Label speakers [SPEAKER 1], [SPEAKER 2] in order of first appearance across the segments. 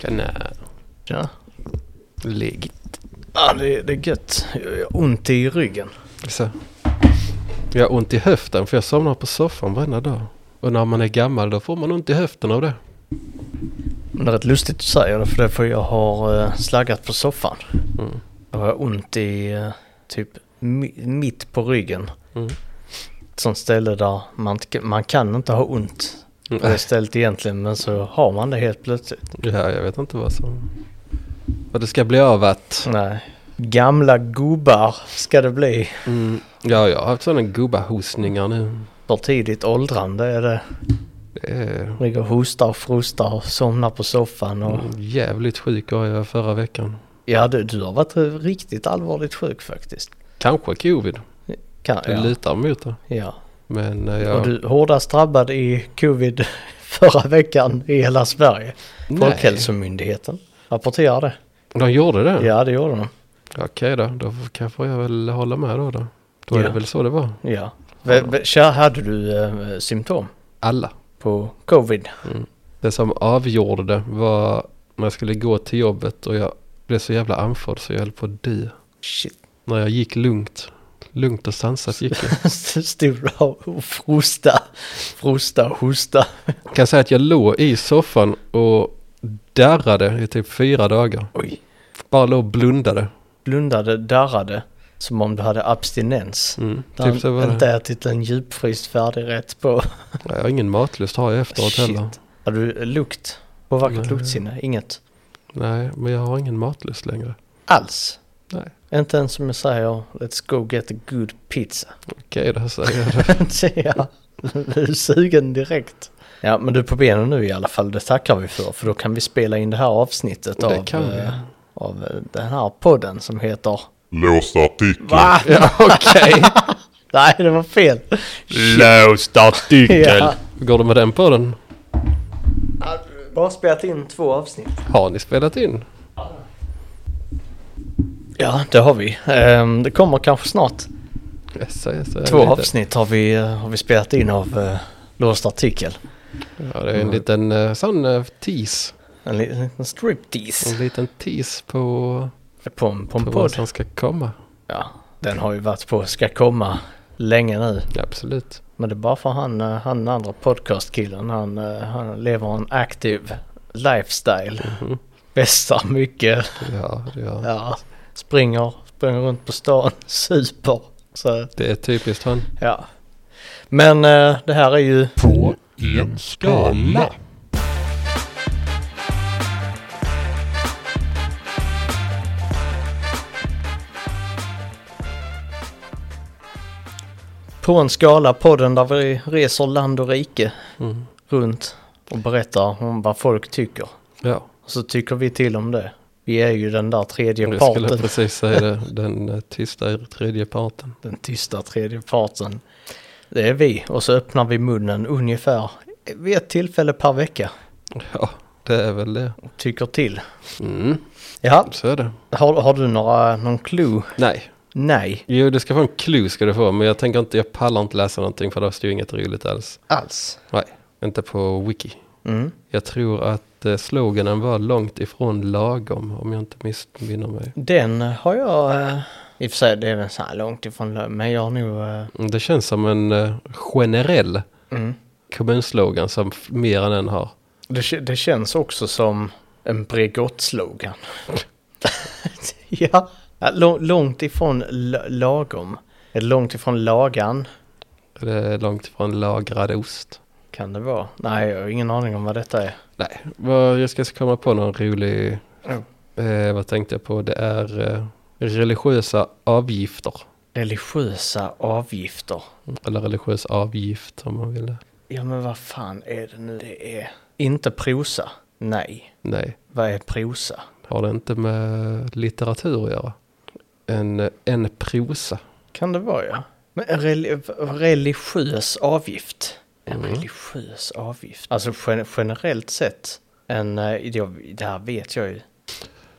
[SPEAKER 1] Den är
[SPEAKER 2] Ja.
[SPEAKER 1] legit.
[SPEAKER 2] Ja, det, det är gött. Jag har ont i ryggen.
[SPEAKER 1] Så. Jag har ont i höften för jag somnar på soffan varenda dag. Och när man är gammal då får man ont i höften av det.
[SPEAKER 2] Men det är rätt lustigt att säga det för det är för jag har eh, slaggat på soffan.
[SPEAKER 1] Mm.
[SPEAKER 2] Jag har ont i eh, typ mi- mitt på ryggen.
[SPEAKER 1] Mm.
[SPEAKER 2] Ett sånt ställe där man, inte- man kan inte ha ont på
[SPEAKER 1] äh,
[SPEAKER 2] det stället egentligen men så har man det helt plötsligt.
[SPEAKER 1] Ja, jag vet inte vad som... Vad det ska bli av att...
[SPEAKER 2] Nej. Gamla gubbar ska det bli.
[SPEAKER 1] Mm. Ja, jag har haft sådana gubbahostningar nu.
[SPEAKER 2] För tidigt åldrande är det.
[SPEAKER 1] Det är
[SPEAKER 2] Ligger och hostar och frostar och somnar på soffan och...
[SPEAKER 1] Mm. jävligt sjuk var jag förra veckan.
[SPEAKER 2] Ja du, du har varit riktigt allvarligt sjuk faktiskt.
[SPEAKER 1] Kanske covid.
[SPEAKER 2] Kan,
[SPEAKER 1] Det
[SPEAKER 2] ja.
[SPEAKER 1] lutar mot det.
[SPEAKER 2] ja.
[SPEAKER 1] Men eh, jag...
[SPEAKER 2] Och du hårdast drabbad i covid förra veckan i hela Sverige.
[SPEAKER 1] Nej,
[SPEAKER 2] Folkhälsomyndigheten rapporterar det.
[SPEAKER 1] De gjorde det?
[SPEAKER 2] Ja, det gjorde de.
[SPEAKER 1] Okej då, då kanske jag väl hålla med då. Då, då är
[SPEAKER 2] Ja.
[SPEAKER 1] det väl så det var.
[SPEAKER 2] Ja. V- v- Kär, hade du eh, symptom
[SPEAKER 1] Alla.
[SPEAKER 2] på covid?
[SPEAKER 1] Det som avgjorde det var när jag skulle gå till jobbet och jag blev så jävla andfådd så jag höll på att dö.
[SPEAKER 2] Shit.
[SPEAKER 1] När jag gick lugnt, lugnt och sansat gick jag.
[SPEAKER 2] Stod där och frosta, frosta och hosta.
[SPEAKER 1] Jag kan säga att jag låg i soffan och darrade i typ fyra dagar.
[SPEAKER 2] Oj.
[SPEAKER 1] Bara låg och blundade.
[SPEAKER 2] Blundade, darrade. Som om du hade abstinens.
[SPEAKER 1] Mm.
[SPEAKER 2] Där
[SPEAKER 1] Typ så var
[SPEAKER 2] inte
[SPEAKER 1] det.
[SPEAKER 2] ätit en djupfryst färdigrätt på.
[SPEAKER 1] Jag har ingen matlust har jag efteråt
[SPEAKER 2] Shit.
[SPEAKER 1] heller.
[SPEAKER 2] Har du lukt? Påverkat
[SPEAKER 1] Nej.
[SPEAKER 2] luktsinne? Inget?
[SPEAKER 1] Nej, men jag har ingen matlust längre.
[SPEAKER 2] Alls?
[SPEAKER 1] Nej.
[SPEAKER 2] Inte ens som jag säger let's go get a good pizza.
[SPEAKER 1] Okej då säger jag det.
[SPEAKER 2] ja, du är sugen direkt. Ja, men du är på benen nu i alla fall. Det tackar vi för. För då kan vi spela in det här avsnittet
[SPEAKER 1] Det
[SPEAKER 2] av,
[SPEAKER 1] kan vi.
[SPEAKER 2] eh, av eh, den här podden som heter...
[SPEAKER 3] Låst artikel.
[SPEAKER 2] Va?
[SPEAKER 1] Ja, Okej,
[SPEAKER 2] Nej, det var fel.
[SPEAKER 3] Låst artikel.
[SPEAKER 2] Ja.
[SPEAKER 1] hur går det med den podden?
[SPEAKER 2] Bara spelat in två avsnitt.
[SPEAKER 1] Har ni spelat in?
[SPEAKER 2] Ja, det har vi. Ehm, det kommer kanske snart.
[SPEAKER 1] Yes, yes,
[SPEAKER 2] Två avsnitt har vi, eh, har vi spelat in av eh, Låst artikel.
[SPEAKER 1] Ja, det är en liten eh, sån eh, tease.
[SPEAKER 2] En li- en liten striptease
[SPEAKER 1] En liten tease på,
[SPEAKER 2] på en, på en
[SPEAKER 1] Mm. på vad
[SPEAKER 2] podd.
[SPEAKER 1] som ska komma.
[SPEAKER 2] Ja, den har ju varit på Ska komma länge nu.
[SPEAKER 1] Ja, Absolut.
[SPEAKER 2] Men det är bara för han, eh, han den andra podcastkillen, han, eh, han lever en aktiv lifestyle.
[SPEAKER 1] Mhm.
[SPEAKER 2] Festar mycket,
[SPEAKER 1] Ja, ja.
[SPEAKER 2] ja, springer, springer runt på stan, super. Så
[SPEAKER 1] Det är typiskt han.
[SPEAKER 2] ja. Men eh, det här är ju...
[SPEAKER 3] På en skala.
[SPEAKER 2] På en skala, podden där vi reser land och rike
[SPEAKER 1] Mm.
[SPEAKER 2] runt och berättar om vad folk tycker.
[SPEAKER 1] Ja,
[SPEAKER 2] Och så tycker vi till om det. Vi är ju den där tredje
[SPEAKER 1] jag skulle
[SPEAKER 2] parten.
[SPEAKER 1] precis säga det. Den eh, tysta tredje parten.
[SPEAKER 2] Den tysta tredje parten. Det är vi och så öppnar vi munnen ungefär vid ett tillfälle per vecka.
[SPEAKER 1] Ja, det är väl det.
[SPEAKER 2] Och tycker till.
[SPEAKER 1] Mm.
[SPEAKER 2] Ja,
[SPEAKER 1] Så är det.
[SPEAKER 2] har, har du några, någon clue?
[SPEAKER 1] Nej,
[SPEAKER 2] Nej,
[SPEAKER 1] jo du ska få en clue ska du få. Men jag tänker inte, jag pallar inte läsa någonting för det står ju inget roligt alls.
[SPEAKER 2] alls.
[SPEAKER 1] Nej, inte på wiki.
[SPEAKER 2] Mm.
[SPEAKER 1] Jag tror att eh, sloganen var långt ifrån lagom om jag inte missminner mig.
[SPEAKER 2] Den har jag... eh, I och för sig, det är väl så här långt ifrån lö- men jag har nog... eh,
[SPEAKER 1] Mm, Det känns som en eh, generell
[SPEAKER 2] Mm.
[SPEAKER 1] kommunslogan som f- mer än en har.
[SPEAKER 2] Det, kä- det känns också som en Bregott-slogan. ja, Ja, lå- långt ifrån l- lagom. Eller långt ifrån lagan
[SPEAKER 1] Det är långt ifrån lagrad ost.
[SPEAKER 2] kan det vara. Nej, jag har ingen aning om vad detta är.
[SPEAKER 1] Nej, vad, jag ska komma på någon rolig...
[SPEAKER 2] Mm.
[SPEAKER 1] Eh, vad tänkte jag på? Det är eh, religiösa avgifter.
[SPEAKER 2] Religiösa avgifter.
[SPEAKER 1] Eller religiös avgift om man vill.
[SPEAKER 2] Ja, men vad fan är det nu det är? Inte prosa. Nej.
[SPEAKER 1] Nej,
[SPEAKER 2] Vad är prosa?
[SPEAKER 1] har det inte med litteratur att göra. En, eh, en prosa.
[SPEAKER 2] Kan det vara, ja. Men en reli- religiös avgift. En
[SPEAKER 1] Mm.
[SPEAKER 2] religiös avgift. Alltså gen- generellt sett. En, eh, jag, det här vet jag ju.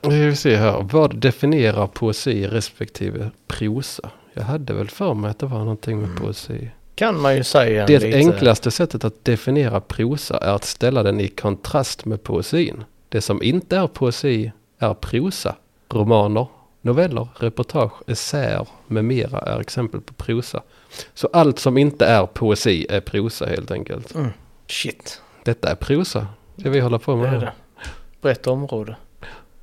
[SPEAKER 1] Nu vi se här. Vad definierar poesi respektive prosa? Jag hade väl för mig att det var någonting med poesi.
[SPEAKER 2] Kan man ju säga en
[SPEAKER 1] Det
[SPEAKER 2] lite...
[SPEAKER 1] enklaste sättet att definiera prosa är att ställa den i kontrast med poesin. Det som inte är poesi är prosa. Romaner, noveller, reportage, essäer med mera är exempel på prosa. Så allt som inte är poesi är prosa helt enkelt.
[SPEAKER 2] Shit,
[SPEAKER 1] Detta är prosa. Det vi håller på
[SPEAKER 2] det
[SPEAKER 1] med.
[SPEAKER 2] är
[SPEAKER 1] nu.
[SPEAKER 2] det. Brett område.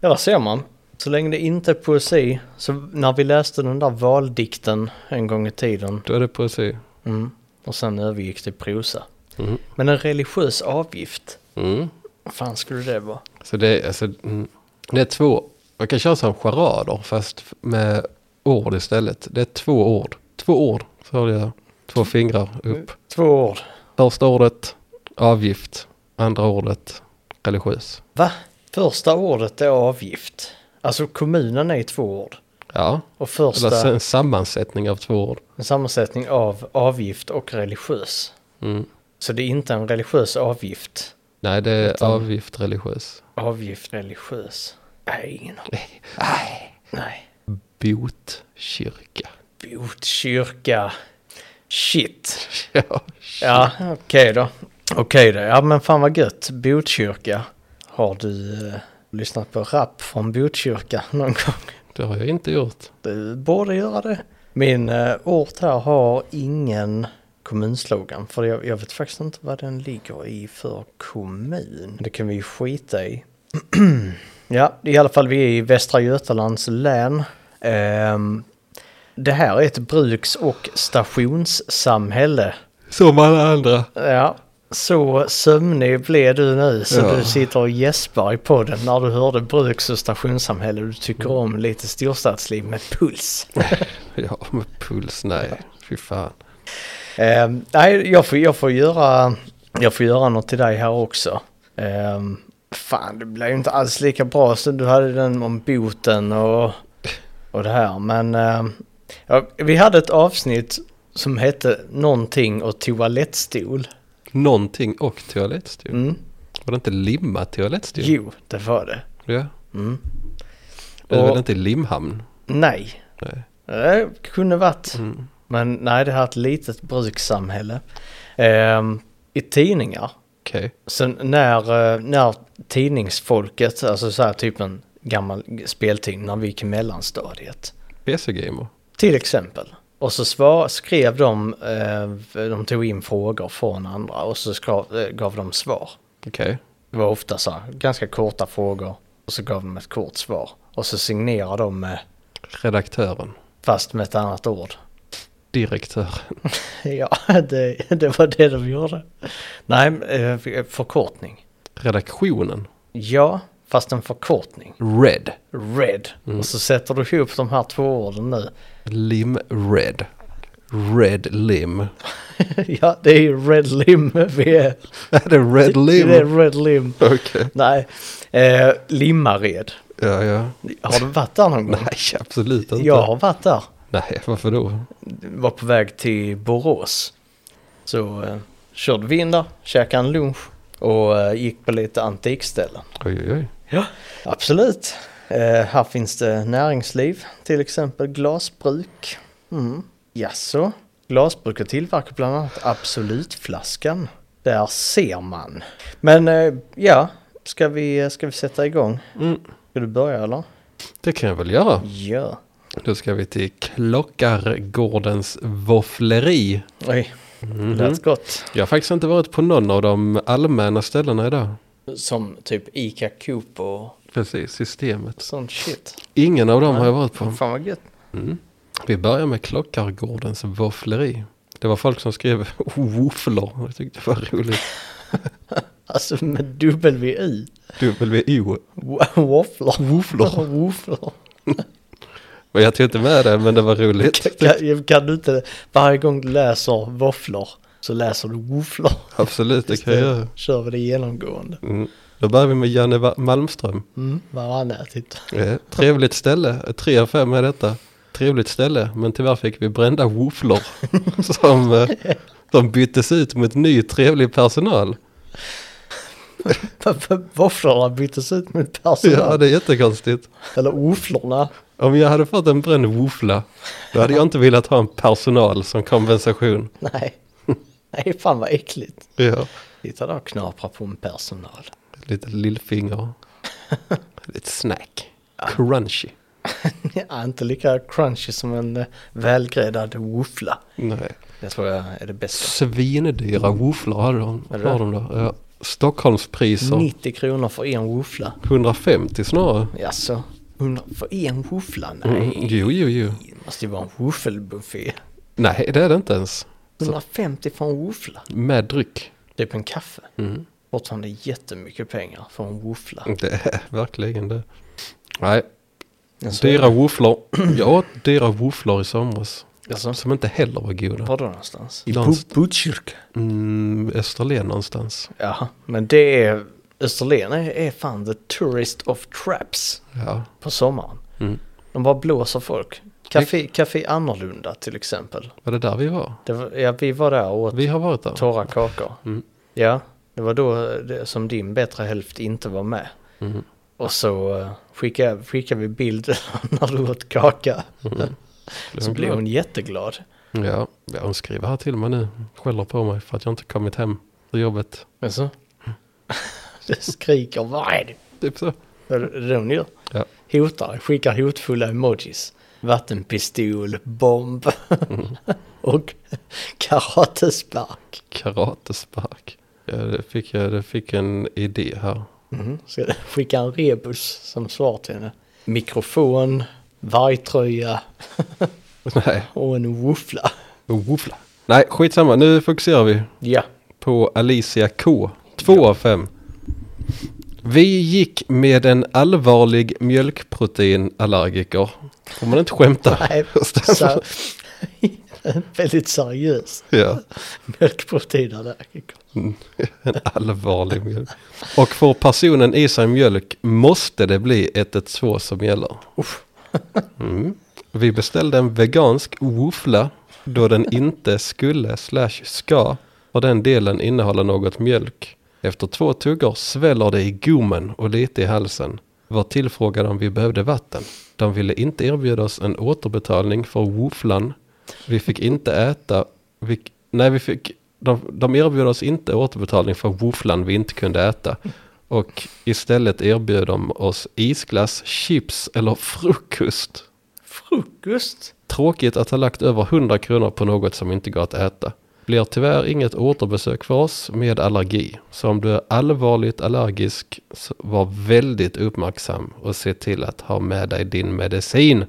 [SPEAKER 2] Ja, där ser man. Så länge det inte är poesi, så när vi läste den där valdikten en gång i tiden,
[SPEAKER 1] Då är det poesi.
[SPEAKER 2] mm, och sen övergick till prosa.
[SPEAKER 1] Mm.
[SPEAKER 2] Men en religiös avgift,
[SPEAKER 1] Mm.
[SPEAKER 2] vad fan skulle det vara?
[SPEAKER 1] Så det är, alltså, mm, det är två, man kan köra som charader fast f- med ord istället. Det är två ord. Två ord, så har jag två fingrar upp.
[SPEAKER 2] Två ord.
[SPEAKER 1] Första ordet avgift, andra ordet religiös.
[SPEAKER 2] Va? Första ordet är avgift. Alltså kommunen är två ord.
[SPEAKER 1] Ja,
[SPEAKER 2] Och
[SPEAKER 1] eller
[SPEAKER 2] första
[SPEAKER 1] en sammansättning av två ord.
[SPEAKER 2] en sammansättning av avgift och religiös.
[SPEAKER 1] Mm.
[SPEAKER 2] Så det är inte en religiös avgift.
[SPEAKER 1] Nej, det är
[SPEAKER 2] Utan-
[SPEAKER 1] avgift religiös.
[SPEAKER 2] Avgift religiös. Nej, ingen aning. Nej.
[SPEAKER 1] Botkyrka.
[SPEAKER 2] Botkyrka. Shit.
[SPEAKER 1] Ja,
[SPEAKER 2] Ja, okej då. Okej då. Ja, men fan vad gött. Botkyrka. Har du eh, lyssnat på rap från Botkyrka någon gång?
[SPEAKER 1] det har jag inte gjort.
[SPEAKER 2] Du borde göra det. Min eh, ort här har ingen kommunslogan. För jag, jag vet faktiskt inte vad den ligger i för kommun. Det kan vi ju skita i. ja, i alla fall vi är i Västra Götalands län. Ehm, det här är ett bruks och stationssamhälle.
[SPEAKER 1] Som alla andra.
[SPEAKER 2] Ja, så sömnig blev du nu så
[SPEAKER 1] Ja.
[SPEAKER 2] du sitter och gäspar i podden när du hörde bruks och stationssamhälle. Du tycker
[SPEAKER 1] Mm.
[SPEAKER 2] om lite storstadsliv med puls.
[SPEAKER 1] Ja, med puls, nej. Fy fan.
[SPEAKER 2] Eh, nej, jag får, jag, får göra, jag får göra något till dig här också. Eh, fan, det blev ju inte alls lika bra som du hade den om boten och, och det här. Men eh, ja, vi hade ett avsnitt som hette någonting och toalettstol.
[SPEAKER 1] Någonting och toalettstol.
[SPEAKER 2] Mm.
[SPEAKER 1] Var det inte limma toalettstol?
[SPEAKER 2] Jo, det var det.
[SPEAKER 1] Ja.
[SPEAKER 2] Mm.
[SPEAKER 1] Det är
[SPEAKER 2] Och-
[SPEAKER 1] väl inte i Limhamn?
[SPEAKER 2] Nej,
[SPEAKER 1] Nej.
[SPEAKER 2] det kunde varit.
[SPEAKER 1] Mm.
[SPEAKER 2] Men nej, det här är ett litet brukssamhälle. Eh, I tidningar
[SPEAKER 1] Okej.
[SPEAKER 2] Så när, eh, när tidningsfolket, alltså så här typ en gammal speltidning när vi gick i mellanstadiet,
[SPEAKER 1] PC-gamer.
[SPEAKER 2] till exempel. Och så svar, skrev de, eh, de tog in frågor från andra och så skra- eh, gav de svar.
[SPEAKER 1] Okej.
[SPEAKER 2] Det var ofta så här, ganska korta frågor och så gav de ett kort svar. Och så signerade de, med,
[SPEAKER 1] Redaktören.
[SPEAKER 2] fast med ett annat ord.
[SPEAKER 1] Direktören.
[SPEAKER 2] ja, det, det var det de gjorde. Nej, eh, förkortning.
[SPEAKER 1] Redaktionen.
[SPEAKER 2] Ja, fast en förkortning.
[SPEAKER 1] Red.
[SPEAKER 2] Red. Och så sätter du ihop de här två orden nu.
[SPEAKER 1] Lim-red. Red lim.
[SPEAKER 2] ja, det är ju Red Lim vi är.
[SPEAKER 1] Är det red
[SPEAKER 2] Det är
[SPEAKER 1] lim?
[SPEAKER 2] Red Lim.
[SPEAKER 1] Okej.
[SPEAKER 2] Nej, eh, Limmared.
[SPEAKER 1] Ja, ja.
[SPEAKER 2] Har du varit där någon gång?
[SPEAKER 1] Nej, absolut inte.
[SPEAKER 2] Jag har varit där.
[SPEAKER 1] Nej, varför då?
[SPEAKER 2] Var på väg till Borås. Så eh, körde vi in där, käkade en lunch och eh, gick på lite antikställen.
[SPEAKER 1] Oj, oj, oj.
[SPEAKER 2] Absolut. Eh, här finns det näringsliv, till exempel glasbruk. Mm. Jaså? Glasbruket tillverkar bland annat Absolutflaskan. Där ser man. Men eh, ja, ska vi, ska vi sätta igång?
[SPEAKER 1] Mm.
[SPEAKER 2] Ska du börja eller?
[SPEAKER 1] Det kan jag väl göra.
[SPEAKER 2] Ja.
[SPEAKER 1] Då ska vi till Klockargårdens våffleri.
[SPEAKER 2] Oj, lät gott.
[SPEAKER 1] Jag har faktiskt inte varit på någon av de allmänna ställena idag.
[SPEAKER 2] Som typ Ica Coop och
[SPEAKER 1] Precis, systemet.
[SPEAKER 2] sånt shit.
[SPEAKER 1] Ingen av dem har jag varit på.
[SPEAKER 2] Fan vad gött.
[SPEAKER 1] Vi börjar med Klockargårdens våffleri. Det var folk som skrev wofflor. Jag tyckte det var roligt.
[SPEAKER 2] Alltså med W-I.
[SPEAKER 1] W-O.
[SPEAKER 2] Wafflor.
[SPEAKER 1] Wofflor.
[SPEAKER 2] Wafflor.
[SPEAKER 1] Men jag tog inte med det, men det var roligt.
[SPEAKER 2] Kan, kan du inte, varje gång du läser våfflor så läser du wofflor.
[SPEAKER 1] Absolut, det kan jag göra.
[SPEAKER 2] Kör vi det genomgående.
[SPEAKER 1] Mm. Då börjar vi med Janne Va- Malmström.
[SPEAKER 2] Mm, varannat titt.
[SPEAKER 1] Eh, Trevligt ställe. Tre av fem är detta. Trevligt ställe, men tyvärr fick vi brända wofflor. Som, eh, som byttes ut mot ny trevlig personal.
[SPEAKER 2] Våfflorna byttes ut mot
[SPEAKER 1] Ja,
[SPEAKER 2] personal.
[SPEAKER 1] det är jättekonstigt.
[SPEAKER 2] Eller wofflorna.
[SPEAKER 1] Om jag hade fått en bränd woffla, då hade jag inte velat ha en personal som kompensation.
[SPEAKER 2] Nej. Nej, fan vad äckligt.
[SPEAKER 1] Ja,
[SPEAKER 2] Titta där och knapra på en personal.
[SPEAKER 1] lite lillfinger. Lite snack. Crunchy.
[SPEAKER 2] Ja, inte lika crunchy som en eh, välgräddad våffla.
[SPEAKER 1] Nej.
[SPEAKER 2] Det tror jag är det bästa.
[SPEAKER 1] Svindyra våfflor hade de.
[SPEAKER 2] Mm. Är det
[SPEAKER 1] Har
[SPEAKER 2] det?
[SPEAKER 1] de där. Ja. Stockholmspriser.
[SPEAKER 2] 90 kronor för en våffla.
[SPEAKER 1] 150 snarare.
[SPEAKER 2] Jaså? 100 för en våffla? Nej,
[SPEAKER 1] Mm, jo, jo, jo.
[SPEAKER 2] det måste ju vara en våffelbuffé.
[SPEAKER 1] Nej, det är det inte ens.
[SPEAKER 2] 150 för en våffla?
[SPEAKER 1] Med dryck.
[SPEAKER 2] Det är på Typ en kaffe.
[SPEAKER 1] Mm.
[SPEAKER 2] Fortfarande jättemycket pengar för en våffla.
[SPEAKER 1] Det är verkligen det. Nej,
[SPEAKER 2] Alltså,
[SPEAKER 1] dyra våfflor. Jag åt dyra våfflor i somras.
[SPEAKER 2] Jaså?
[SPEAKER 1] Som inte heller var goda.
[SPEAKER 2] Var då någonstans?
[SPEAKER 1] I Någonstans.
[SPEAKER 2] Botkyrka.
[SPEAKER 1] Mm, Österlen någonstans.
[SPEAKER 2] Ja, men det är... Österlen är, är fan the tourist of traps
[SPEAKER 1] Ja.
[SPEAKER 2] på sommaren.
[SPEAKER 1] Mm.
[SPEAKER 2] De bara blåser folk. Café, Café Annorlunda till exempel.
[SPEAKER 1] Var det där vi var?
[SPEAKER 2] Det var, ja, vi var där och åt
[SPEAKER 1] Vi har varit där.
[SPEAKER 2] torra kakor.
[SPEAKER 1] Mm.
[SPEAKER 2] Ja, det var då eh, det, som din bättre hälft inte var med.
[SPEAKER 1] Mm.
[SPEAKER 2] Och så eh, skickade, skickade vi bilder när du åt kaka.
[SPEAKER 1] Mm, Blev
[SPEAKER 2] Så
[SPEAKER 1] hon
[SPEAKER 2] blev
[SPEAKER 1] glad?
[SPEAKER 2] hon jätteglad.
[SPEAKER 1] Ja, ja, hon skriver här till mig nu. Skäller på mig för att jag inte kommit hem till jobbet.
[SPEAKER 2] Men så?
[SPEAKER 1] Mm.
[SPEAKER 2] det skriker, vad är det?
[SPEAKER 1] Typ så.
[SPEAKER 2] Det är det hon gör.
[SPEAKER 1] Ja.
[SPEAKER 2] Hotar, skickar hotfulla emojis. Vattenpistol, bomb
[SPEAKER 1] Mm.
[SPEAKER 2] och karatespark.
[SPEAKER 1] Karatespark. Ja, det fick jag det fick en idé här.
[SPEAKER 2] Mm. Så jag skickar en rebus som svar till henne. Mikrofon, vargtröja
[SPEAKER 1] Nej,
[SPEAKER 2] och en woofla.
[SPEAKER 1] och woofla. Nej, skitsamma. Nu fokuserar vi
[SPEAKER 2] Ja.
[SPEAKER 1] på Alicia K. Två av fem. Vi gick med en allvarlig mjölkproteinallergiker. Får man inte skämta?
[SPEAKER 2] Nej, så, väldigt seriös
[SPEAKER 1] ja.
[SPEAKER 2] mjölkproteinallergiker.
[SPEAKER 1] Mm, En allvarlig mjölk. Och får personen i sig mjölk måste det bli 112 som gäller. Mm. Vi beställde en vegansk woofla då den inte skulle slash ska och den delen innehåller något mjölk. Efter två tuggor sväller det i gommen och lite i halsen. Var tillfrågade om vi behövde vatten. De ville inte erbjuda oss en återbetalning för wooflan. Vi fick inte äta. Vi, nej, vi fick, de, de erbjöd oss inte återbetalning för wooflan vi inte kunde äta. Och istället erbjöd de oss isglass, chips eller frukost.
[SPEAKER 2] Frukost?
[SPEAKER 1] Tråkigt att ha lagt över 100 kronor på något som inte går att äta. Blir tyvärr inget återbesök för oss med allergi. Så om du är allvarligt allergisk, så var väldigt uppmärksam och se till att ha med dig din medicin.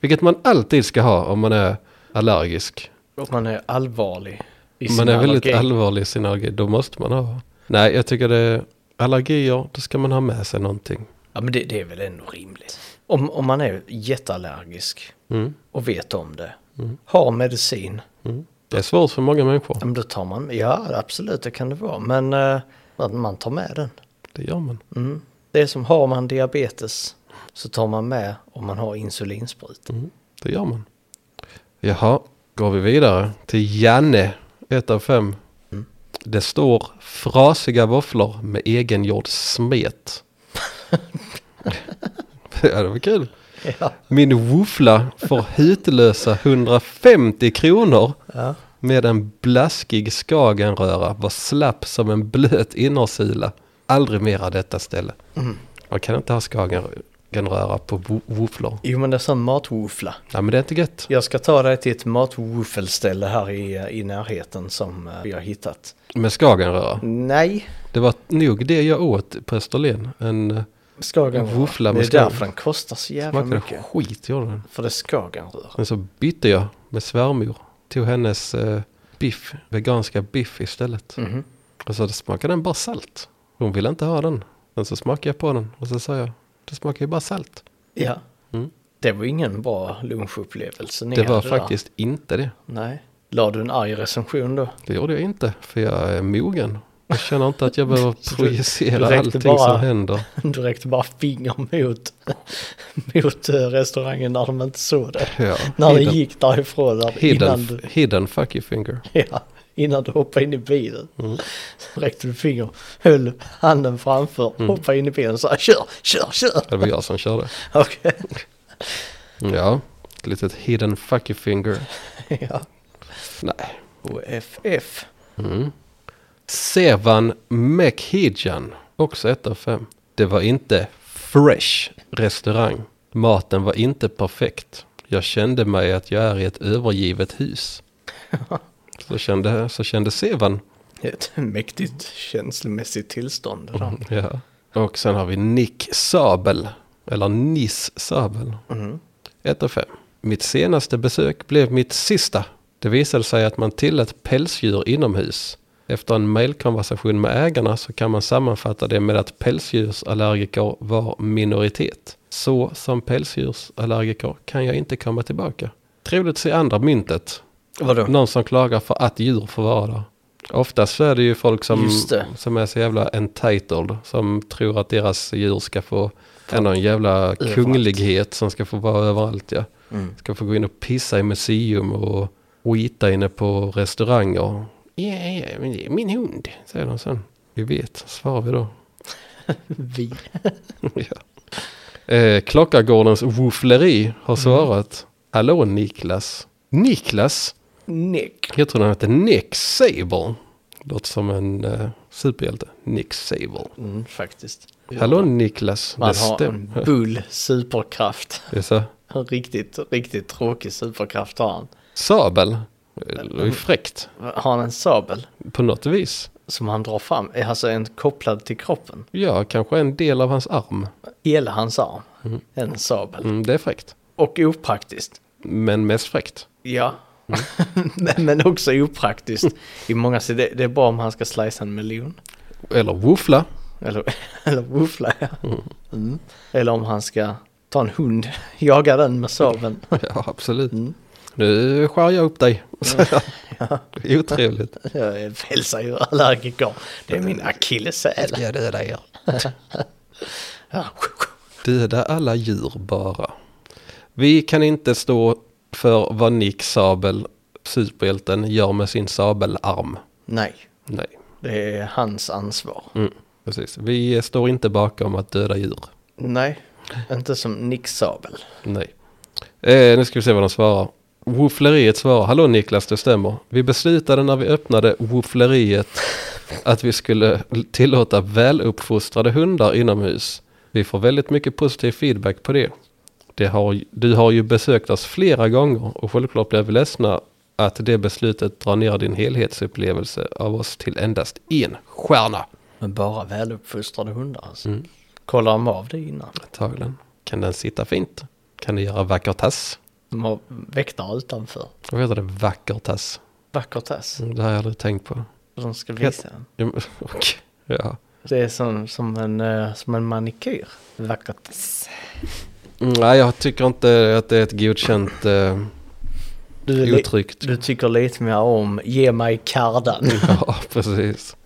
[SPEAKER 1] Vilket man alltid ska ha om man är allergisk.
[SPEAKER 2] Och man är allvarlig i
[SPEAKER 1] Om
[SPEAKER 2] sin
[SPEAKER 1] man är väldigt
[SPEAKER 2] allergi.
[SPEAKER 1] allvarlig i sin allergi, då måste man ha. Nej, jag tycker det är allergier, då ska man ha med sig någonting.
[SPEAKER 2] Ja men det, det är väl ändå rimligt. Om, om man är jätteallergisk
[SPEAKER 1] Mm.
[SPEAKER 2] och vet om det, har medicin,
[SPEAKER 1] Mm. Det är svårt för många människor.
[SPEAKER 2] ja, men då tar man, ja absolut det kan det vara, men eh, man- man tar med den.
[SPEAKER 1] Det gör man.
[SPEAKER 2] Mm. Det är som har man diabetes så tar man med om man har insulinsprut.
[SPEAKER 1] Mm, det gör man. Jaha, går vi vidare till Janne, 1 av 5. Det står frasiga våfflor med egengjord smet. ja, det var kul.
[SPEAKER 2] Ja.
[SPEAKER 1] Min våffla får hutlösa 150 kronor
[SPEAKER 2] Ja.
[SPEAKER 1] med en blaskig skagenröra var slapp som en blöt innersula. Aldrig mera detta ställe. Man kan inte ha skagenröra på wo- våfflor.
[SPEAKER 2] Jo men det är sån matwoofla.
[SPEAKER 1] Nej, men det är inte gött.
[SPEAKER 2] Jag ska ta dig till ett matwoofelställe här i, i närheten som eh, vi har hittat.
[SPEAKER 1] Med skagenröra.
[SPEAKER 2] Nej,
[SPEAKER 1] Det var nog det jag åt på Österlen. En eh,
[SPEAKER 2] Skagen.
[SPEAKER 1] En woofla
[SPEAKER 2] Det
[SPEAKER 1] med
[SPEAKER 2] är
[SPEAKER 1] skagen.
[SPEAKER 2] därför den kostar så jävla
[SPEAKER 1] smakade
[SPEAKER 2] mycket.
[SPEAKER 1] skit gjorde den.
[SPEAKER 2] För det är skagenröra.
[SPEAKER 1] Men så bytte jag med svärmor. Tog hennes eh, biff, veganska biff istället.
[SPEAKER 2] Mhm.
[SPEAKER 1] Och så smakade den bara salt. Hon ville inte ha den. Men så smakade jag på den och så sa jag, det smakar ju bara salt.
[SPEAKER 2] Ja.
[SPEAKER 1] Mm.
[SPEAKER 2] Det var ingen bra lunchupplevelse ni
[SPEAKER 1] Det var
[SPEAKER 2] hade där.
[SPEAKER 1] faktiskt inte det.
[SPEAKER 2] Nej. La du en arg recension då?
[SPEAKER 1] Det gjorde jag inte, för jag är mogen. Jag känner inte att jag behöver
[SPEAKER 2] Så du-
[SPEAKER 1] projicera
[SPEAKER 2] du räckte
[SPEAKER 1] allting
[SPEAKER 2] bara-
[SPEAKER 1] som händer.
[SPEAKER 2] Du räckte bara finger mot, mot eh, restaurangen när de inte såg det.
[SPEAKER 1] Ja.
[SPEAKER 2] När ni
[SPEAKER 1] Hidden,
[SPEAKER 2] gick därifrån där innan,
[SPEAKER 1] hidden,
[SPEAKER 2] du,
[SPEAKER 1] hidden fuck you finger.
[SPEAKER 2] ja, innan du hoppade in i bilen. Så räckte du finger, höll handen framför, hoppade in i bilen och sa kör, kör, kör.
[SPEAKER 1] Det var jag som körde.
[SPEAKER 2] Okej.
[SPEAKER 1] Ja, ett litet hidden fucky finger.
[SPEAKER 2] ja.
[SPEAKER 1] Nej.
[SPEAKER 2] OFF.
[SPEAKER 1] Mm. Sevan Mekhijan, också ett av fem. Det var inte Fresh restaurang. Maten var inte perfekt. Jag kände mig att jag är i ett övergivet hus. Så kände, så kände Sevan.
[SPEAKER 2] Ett mäktigt känslomässigt tillstånd. det där.
[SPEAKER 1] Ja. Och sen har vi Nick Sabel. Eller Nis Sabel.
[SPEAKER 2] Mhm.
[SPEAKER 1] 1 och 5. Mitt senaste besök blev mitt sista. Det visade sig att man tillät pälsdjur inomhus. Efter en mejlkonversation med ägarna så kan man sammanfatta det med att pälsdjursallergiker var minoritet. Så som pälsdjursallergiker kan jag inte komma tillbaka. Trevligt att se andra myntet.
[SPEAKER 2] Vadå?
[SPEAKER 1] Någon som klagar för att djur får vara där. Oftast så är det ju folk som,
[SPEAKER 2] Just det.
[SPEAKER 1] som är så jävla entitled. Som tror att deras djur ska få en någon jävla kunglighet som ska få vara överallt. Ja.
[SPEAKER 2] Mm.
[SPEAKER 1] Ska få gå in och pissa i museum och skita inne på restauranger. Ja, ja, men det är min hund, säger de sen. Vi vet, svarar vi då.
[SPEAKER 2] Vi.
[SPEAKER 1] ja. eh, Klockargårdens woofleri har
[SPEAKER 2] Mm.
[SPEAKER 1] svarat. Hallå Niklas. Niklas?
[SPEAKER 2] Nick.
[SPEAKER 1] Jag tror han hette Nick Saber. Låter som en eh, superhjälte. Nick Saber.
[SPEAKER 2] Mm, faktiskt.
[SPEAKER 1] Hallå Niklas.
[SPEAKER 2] Man
[SPEAKER 1] det
[SPEAKER 2] har en
[SPEAKER 1] stämmer.
[SPEAKER 2] bull superkraft.
[SPEAKER 1] Det är så.
[SPEAKER 2] En riktigt, riktigt tråkig superkraft har han.
[SPEAKER 1] Sabel. Det var ju fräckt.
[SPEAKER 2] Har han en sabel
[SPEAKER 1] På något vis.
[SPEAKER 2] som han drar fram? Är alltså en kopplad till kroppen?
[SPEAKER 1] Ja, kanske en del av hans arm.
[SPEAKER 2] Hela hans arm. En sabel.
[SPEAKER 1] Mm, det är fräckt.
[SPEAKER 2] Och opraktiskt.
[SPEAKER 1] Men mest fräckt.
[SPEAKER 2] Ja. men, men också opraktiskt. I många sidor. Det, det är bra om han ska slicea en melon.
[SPEAKER 1] Eller woofla.
[SPEAKER 2] Eller, eller woofla, ja. Mm. Eller om han ska ta en hund, jaga den med sabeln.
[SPEAKER 1] Ja, absolut.
[SPEAKER 2] Mm.
[SPEAKER 1] Nu skär jag upp dig. ja. Otrevligt.
[SPEAKER 2] Jag är pälsdjurallergiker. Det är min akilleshäl.
[SPEAKER 1] Jag dödar er.
[SPEAKER 2] Ja.
[SPEAKER 1] Döda alla djur bara. Vi kan inte stå för vad Nick Sabel, superhjälten, gör med sin sabelarm.
[SPEAKER 2] Nej,
[SPEAKER 1] Nej,
[SPEAKER 2] det är hans ansvar.
[SPEAKER 1] mm. precis. Vi står inte bakom att döda djur.
[SPEAKER 2] Nej, inte som Nick Sabel.
[SPEAKER 1] Nej. Eh, nu ska vi se vad de svarar. Woofleriet svarar, hallå Niklas, det stämmer. Vi beslutade när vi öppnade woofleriet att vi skulle tillåta väluppfostrade hundar inomhus. Vi får väldigt mycket positiv feedback på det. det har, du har ju besökt oss flera gånger och självklart blev vi ledsna att det beslutet drar ner din helhetsupplevelse av oss till endast en stjärna.
[SPEAKER 2] Men bara väluppfostrade hundar alltså. Kollar de av det innan?
[SPEAKER 1] Antagligen. Kan den sitta fint? Kan den göra vacker tass?
[SPEAKER 2] De har väktare utanför.
[SPEAKER 1] Vad heter det? Vacker tass?
[SPEAKER 2] Vacker tass.
[SPEAKER 1] Det här har jag aldrig tänkt på.
[SPEAKER 2] De ska visa den.
[SPEAKER 1] Ja, men- Okej. Ja.
[SPEAKER 2] Det är som, som, en, eh, som en manikyr. Vacker tass.
[SPEAKER 1] Mm, Nej, jag tycker inte att det är ett godkänt eh,
[SPEAKER 2] Du är li-
[SPEAKER 1] uttryck.
[SPEAKER 2] Du tycker lite mer om ge mig kardan.
[SPEAKER 1] Ja, precis.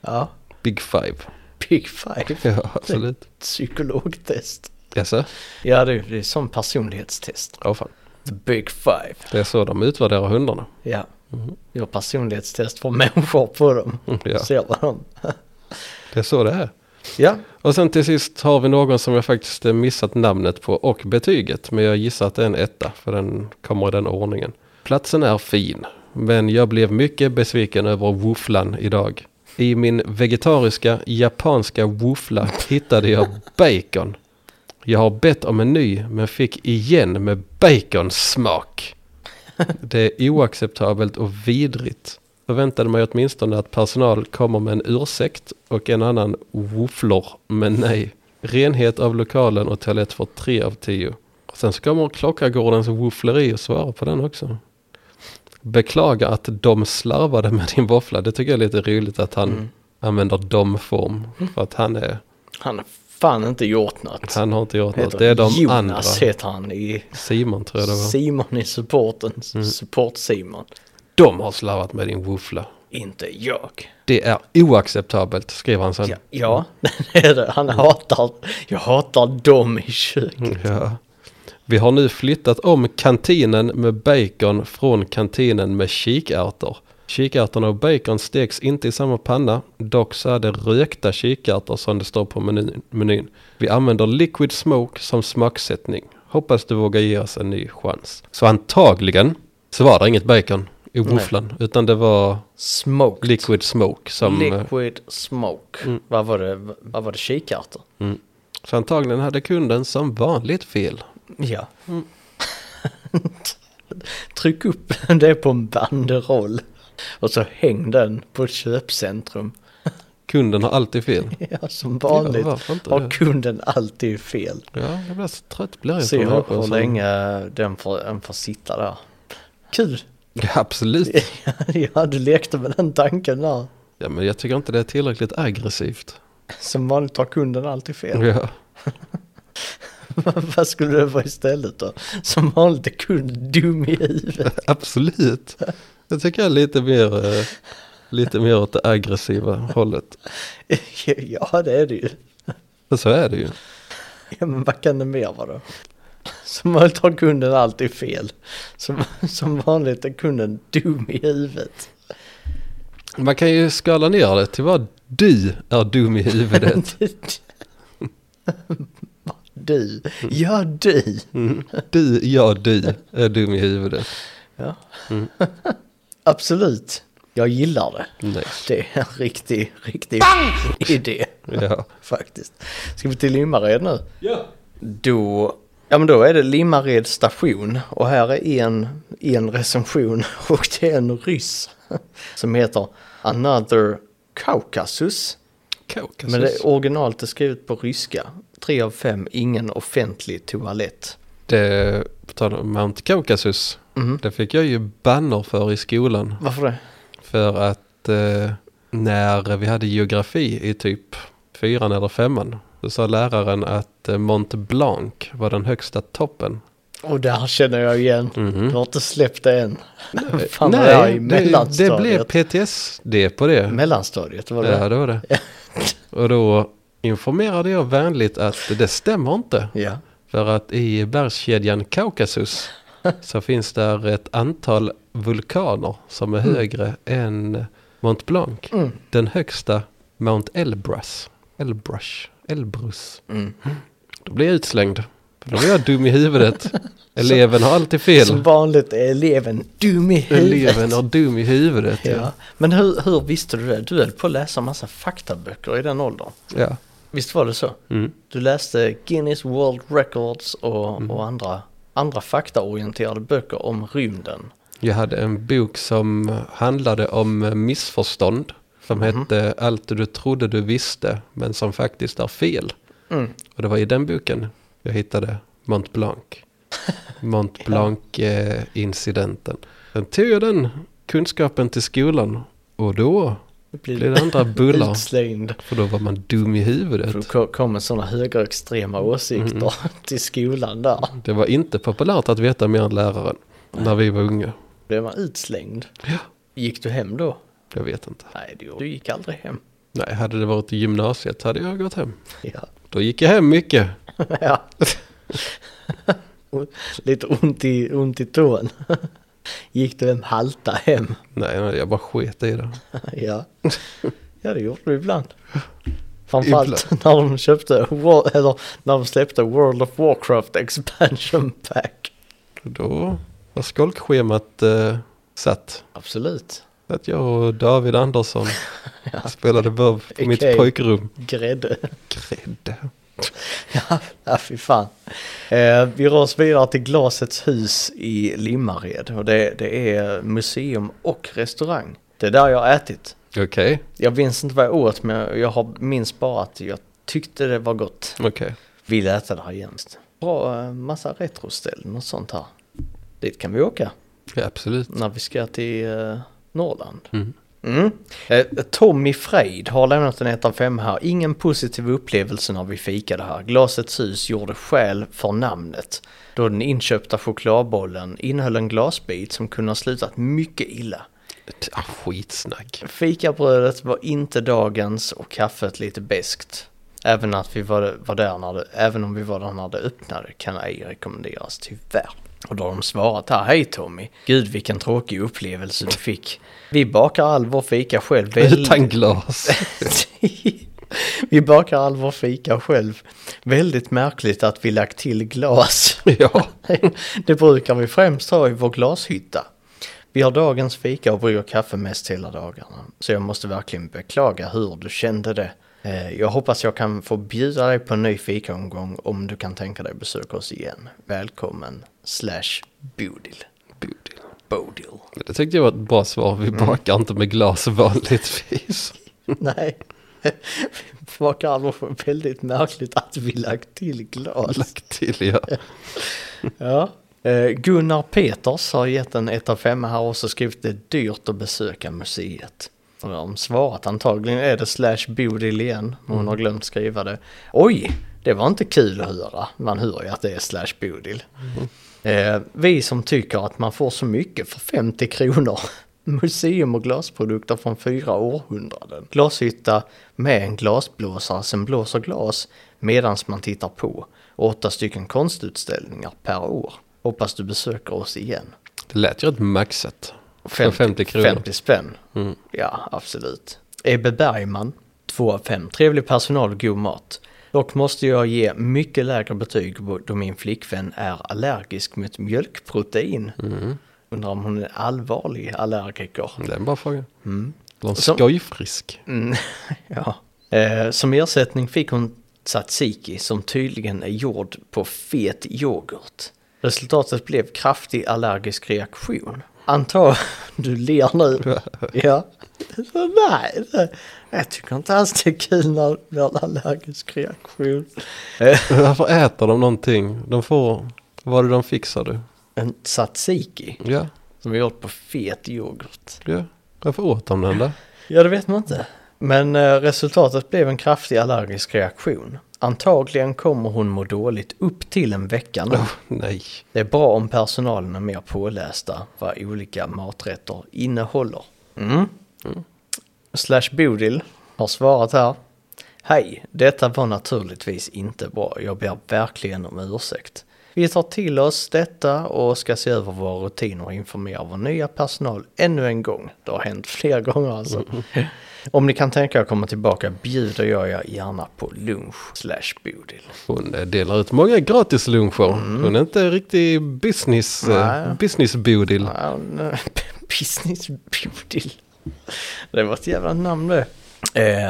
[SPEAKER 2] Ja,
[SPEAKER 1] Big five.
[SPEAKER 2] Big Five.
[SPEAKER 1] Ja, absolut.
[SPEAKER 2] Psykologtest.
[SPEAKER 1] Jaså?
[SPEAKER 2] Ja, det, det är som personlighetstest.
[SPEAKER 1] Ja, fan.
[SPEAKER 2] The Big Five.
[SPEAKER 1] Det är så de utvärderar hundarna.
[SPEAKER 2] Ja, gör personlighetstest för människor på dem.
[SPEAKER 1] Mm, Ja,
[SPEAKER 2] Ser vad de...
[SPEAKER 1] det är så det är.
[SPEAKER 2] Ja,
[SPEAKER 1] Och sen till sist har vi någon som jag faktiskt eh, missat namnet på och betyget. Men jag gissar att det är en etta, för den kommer i den ordningen. Platsen är fin, men jag blev mycket besviken över wooflan idag. I min vegetariska japanska woofla hittade jag bacon. Jag har bett om en ny, men fick igen med baconsmak. Det är oacceptabelt och vidrigt. Förväntade mig åtminstone att personal kommer med en ursäkt och en annan wofflor, men nej. Renhet av lokalen och toalett får 3 av 10. Sen så kommer Klockargårdens woffleri och svara på den också. Beklagar att de slarvade med din våffla. Det tycker jag är lite roligt att han
[SPEAKER 2] Mm.
[SPEAKER 1] använder dom-form. För att han, är,
[SPEAKER 2] han har fan inte gjort något.
[SPEAKER 1] han har inte gjort något.
[SPEAKER 2] Heter
[SPEAKER 1] Det är de andra.
[SPEAKER 2] Jonas heter han i
[SPEAKER 1] Simon tror jag det var.
[SPEAKER 2] Simon i supporten.
[SPEAKER 1] Mm.
[SPEAKER 2] Support-Simon.
[SPEAKER 1] De har slarvat med din woffla.
[SPEAKER 2] Inte jag.
[SPEAKER 1] Det är oacceptabelt, skriver han sen.
[SPEAKER 2] Ja, ja det är det. Han hatar... Jag hatar dem i köket.
[SPEAKER 1] Mm, Ja. Vi har nu flyttat om kantinen med bacon från kantinen med kikärtor. Kikärtorna och bacon steks inte i samma panna, dock så är det rökta kikärtor som det står på menyn. menyn. Vi använder liquid smoke som smaksättning. Hoppas du vågar ge oss en ny chans. Så antagligen så var det inget bacon i wofflan, utan det var
[SPEAKER 2] Smoked.
[SPEAKER 1] liquid smoke som... Liksom, eh, Mm.
[SPEAKER 2] Liquid smoke. Vad var det? Vad var det? Kikärtor?
[SPEAKER 1] Så antagligen hade kunden som vanligt fel.
[SPEAKER 2] Ja. Mm. Tryck upp det på en banderoll. Och så häng den på ett köpcentrum.
[SPEAKER 1] Kunden har alltid fel.
[SPEAKER 2] Ja, som vanligt
[SPEAKER 1] Ja, varför inte
[SPEAKER 2] har
[SPEAKER 1] det?
[SPEAKER 2] kunden alltid fel.
[SPEAKER 1] Ja, jag blir så trött blir jag alltså-
[SPEAKER 2] Se
[SPEAKER 1] på
[SPEAKER 2] hur,
[SPEAKER 1] människor
[SPEAKER 2] hur
[SPEAKER 1] som-
[SPEAKER 2] länge den får, den får sitta där. Kul!
[SPEAKER 1] Ja, absolut.
[SPEAKER 2] Ja, du lekte med den tanken där.
[SPEAKER 1] Ja, men jag tycker inte det är tillräckligt aggressivt.
[SPEAKER 2] Som vanligt har kunden alltid fel.
[SPEAKER 1] Ja.
[SPEAKER 2] Vad skulle det vara istället då? Som vanligt är kunden dum i huvudet.
[SPEAKER 1] Absolut. Jag tycker jag är lite mer, eh, lite mer åt det aggressiva hållet.
[SPEAKER 2] Ja, det är det ju.
[SPEAKER 1] Men så är det ju.
[SPEAKER 2] Ja, men vad kan det mer vara då? Som vanligt har kunden alltid fel. Som, som vanligt är kunden dum i huvudet.
[SPEAKER 1] Man kan ju skala ner det till vad du är dum i huvudet.
[SPEAKER 2] Du, ja du.
[SPEAKER 1] Du, ja du, är dum i huvudet.
[SPEAKER 2] Ja. Absolut, jag gillar det.
[SPEAKER 1] Nej.
[SPEAKER 2] Det är en riktig, riktig idé
[SPEAKER 1] Ja.
[SPEAKER 2] faktiskt. Ska vi till Limmared nu? Ja. Då, ja men då är det Limmared station och här är en, en recension och det är en ryss som heter Another Kaukasus.
[SPEAKER 1] Kaukasus.
[SPEAKER 2] Men det
[SPEAKER 1] det,
[SPEAKER 2] är originalt är skrivet på ryska. Tre av fem, ingen offentlig toalett.
[SPEAKER 1] på tal om Mount Kaukasus.
[SPEAKER 2] Mhm.
[SPEAKER 1] Det fick jag ju banner för i skolan.
[SPEAKER 2] Varför det?
[SPEAKER 1] För att eh, när vi hade geografi i typ fyran eller femman. Då sa läraren att eh, Mont Blanc var den högsta toppen.
[SPEAKER 2] Och där känner jag igen. Du har inte släppt det än. Fan vad jag är
[SPEAKER 1] Nej,
[SPEAKER 2] i
[SPEAKER 1] det, det blev
[SPEAKER 2] mellanstadiet.
[SPEAKER 1] PTSD på det.
[SPEAKER 2] Mellanstadiet var det.
[SPEAKER 1] Ja, det var det. Och då informerade jag vänligt att det stämmer inte.
[SPEAKER 2] Ja.
[SPEAKER 1] För att i bergskedjan Kaukasus så finns där ett antal vulkaner som är högre än Mont Blanc. Den högsta Mount Elbrus. Elbrush. Elbrus.
[SPEAKER 2] Mm.
[SPEAKER 1] Då blir jag utslängd. För då är jag dum i huvudet. Eleven har alltid fel.
[SPEAKER 2] Som vanligt är eleven dum i huvudet.
[SPEAKER 1] Eleven är dum i huvudet.
[SPEAKER 2] Ja.
[SPEAKER 1] Ja.
[SPEAKER 2] Men hur, hur visste du det? Du höll på att läsa massa faktaböcker i den åldern.
[SPEAKER 1] ja.
[SPEAKER 2] Visst var det så?
[SPEAKER 1] Mm.
[SPEAKER 2] Du läste Guinness World Records och, och andra, andra faktaorienterade böcker om rymden.
[SPEAKER 1] Jag hade en bok som handlade om missförstånd. Som hette Allt du trodde du visste men som faktiskt är fel.
[SPEAKER 2] Mm.
[SPEAKER 1] Och det var i den boken jag hittade Mont Blanc. Mont Blanc-incidenten. Sen tog jag den kunskapen till skolan och då blev det andra bullar.
[SPEAKER 2] Utslängd.
[SPEAKER 1] För då var man dum i
[SPEAKER 2] För då
[SPEAKER 1] huvudet.
[SPEAKER 2] ko- kommer sådana högerextrema
[SPEAKER 1] Mm.
[SPEAKER 2] åsikter till skolan där.
[SPEAKER 1] Det var inte populärt att veta mer än läraren när vi var unga.
[SPEAKER 2] Blev man utslängd?
[SPEAKER 1] Ja.
[SPEAKER 2] Gick du hem då?
[SPEAKER 1] Jag vet inte.
[SPEAKER 2] Nej, du, du gick aldrig hem.
[SPEAKER 1] Nej, hade det varit i gymnasiet hade jag gått hem.
[SPEAKER 2] Ja.
[SPEAKER 1] Då gick jag hem mycket.
[SPEAKER 2] ja. Lite ont i, ont i tån. Gick du hem halta hem?
[SPEAKER 1] Nej, nej, jag bara sket i det.
[SPEAKER 2] ja. ja, det gjorde du ibland. Framförallt när de köpte, Wo- eller när de släppte World of Warcraft Expansion Pack.
[SPEAKER 1] Då var skolkschemat eh, satt.
[SPEAKER 2] Absolut.
[SPEAKER 1] Att jag och David Andersson spelade böv på
[SPEAKER 2] Okej.
[SPEAKER 1] mitt pojkrum.
[SPEAKER 2] Grädde.
[SPEAKER 1] Grädde.
[SPEAKER 2] Ja, fy fan. Eh, vi rör oss vidare till Glasets hus i Limmared. Och det, det är museum och restaurang. Det är där jag har ätit.
[SPEAKER 1] Okej,
[SPEAKER 2] Jag minns inte vad jag åt, men jag har, minns bara att jag tyckte det var gott.
[SPEAKER 1] okej.
[SPEAKER 2] Vill äta där igen. Bra eh, massa retroställen och sånt här. Dit kan vi åka
[SPEAKER 1] Ja, absolut.
[SPEAKER 2] när vi ska till eh, Norrland.
[SPEAKER 1] Mm.
[SPEAKER 2] Mm. Eh, Tommy Freid har lämnat en 1 av 5 här. Ingen positiv upplevelse när vi fikade här. Glasets hus gjorde skäl för namnet. Då den inköpta chokladbollen innehöll en glasbit som kunde ha slutat mycket illa.
[SPEAKER 1] T- Ah, skitsnack.
[SPEAKER 2] Fikabrödet var inte dagens och kaffet lite beskt. Även, att vi var, var där när det, även om vi var där när det öppnade kan ej rekommenderas tyvärr. Och då har de svarat här, hej Tommy, gud vilken tråkig upplevelse du fick. Vi bakar all vår fika själv. väl-
[SPEAKER 1] Utan glas.
[SPEAKER 2] vi bakar all vår fika själv. Väldigt märkligt att vi lagt till glas.
[SPEAKER 1] ja,
[SPEAKER 2] Det brukar vi främst ha i vår glashytta. Vi har dagens fika och brygger kaffe mest hela dagarna. Så jag måste verkligen beklaga hur du kände det. Eh, Jag hoppas jag kan få bjuda dig på en ny fikaomgång om du kan tänka dig besöka oss igen. Välkommen slash Bodil.
[SPEAKER 1] Bodil.
[SPEAKER 2] Bodil.
[SPEAKER 1] Det tyckte jag var ett bra svar. Vi
[SPEAKER 2] Mm.
[SPEAKER 1] bakar inte med glas vanligtvis.
[SPEAKER 2] Nej. Vad kan vara väldigt märkligt att vi lagt till glas.
[SPEAKER 1] Lagt till, ja.
[SPEAKER 2] Ja. Eh, Gunnar Peters har gett en 1 av 5 här och så skrivit det är dyrt att besöka museet. Och jag har svarat antagligen är det slash Bodil igen, men hon har glömt skriva det. Oj, det var inte kul att höra. Man hör ju att det är slash Bodil. Eh, vi som tycker att man får så mycket för 50 kronor. Museum och glasprodukter från fyra århundraden. Glashytta med en glasblåsare som blåser glas medan man tittar på. Och åtta stycken konstutställningar per år. Hoppas du besöker oss igen.
[SPEAKER 1] Det lät ju rätt maxat. För 50 kronor. Mm.
[SPEAKER 2] 50 spänn. Ja, absolut. Ebbe Bergman, 2 av 5. Trevlig personal och god mat. Dock måste jag ge mycket lägre betyg då min flickvän är allergisk mot mjölkprotein.
[SPEAKER 1] Mm.
[SPEAKER 2] Undrar om hon är allvarlig allergiker.
[SPEAKER 1] Det är en bra fråga. Det var en
[SPEAKER 2] Mm. Som-
[SPEAKER 1] skojfrisk.
[SPEAKER 2] Mm, ja. eh, som ersättning fick hon tzatziki som tydligen är gjord på fet yoghurt. Resultatet blev kraftig allergisk reaktion. Anta du ler nu. Ja. Nej, det- jag tycker inte alls det är kul när det blir en allergisk reaktion. Eh,
[SPEAKER 1] Varför äter de någonting? De får... Vad var det de fick sa du?
[SPEAKER 2] En tzatziki
[SPEAKER 1] Ja,
[SPEAKER 2] som är gjord på fet yoghurt.
[SPEAKER 1] ja. Varför åt de den där?
[SPEAKER 2] Ja, det vet man inte. Men eh, resultatet blev en kraftig allergisk reaktion. Antagligen kommer hon må dåligt upp till en vecka nu.
[SPEAKER 1] Oh, Nej.
[SPEAKER 2] Det är bra om personalen är mer pålästa vad olika maträtter innehåller. Mm. Slash Bodil har svarat här. Hej, detta var naturligtvis inte bra. Jag ber verkligen om ursäkt. Vi tar till oss detta och ska se över våra rutiner och informera vår nya personal ännu en gång. Det har hänt fler gånger alltså. Om ni kan tänka er att komma tillbaka bjuder jag er gärna på lunch slash Bodil.
[SPEAKER 1] Hon eh, delar ut många gratis luncher. Hon är inte riktig business, eh,
[SPEAKER 2] Mm. Nej.
[SPEAKER 1] business Bodil.
[SPEAKER 2] Ja, nej. Business Bodil. Det var ett jävla namn det.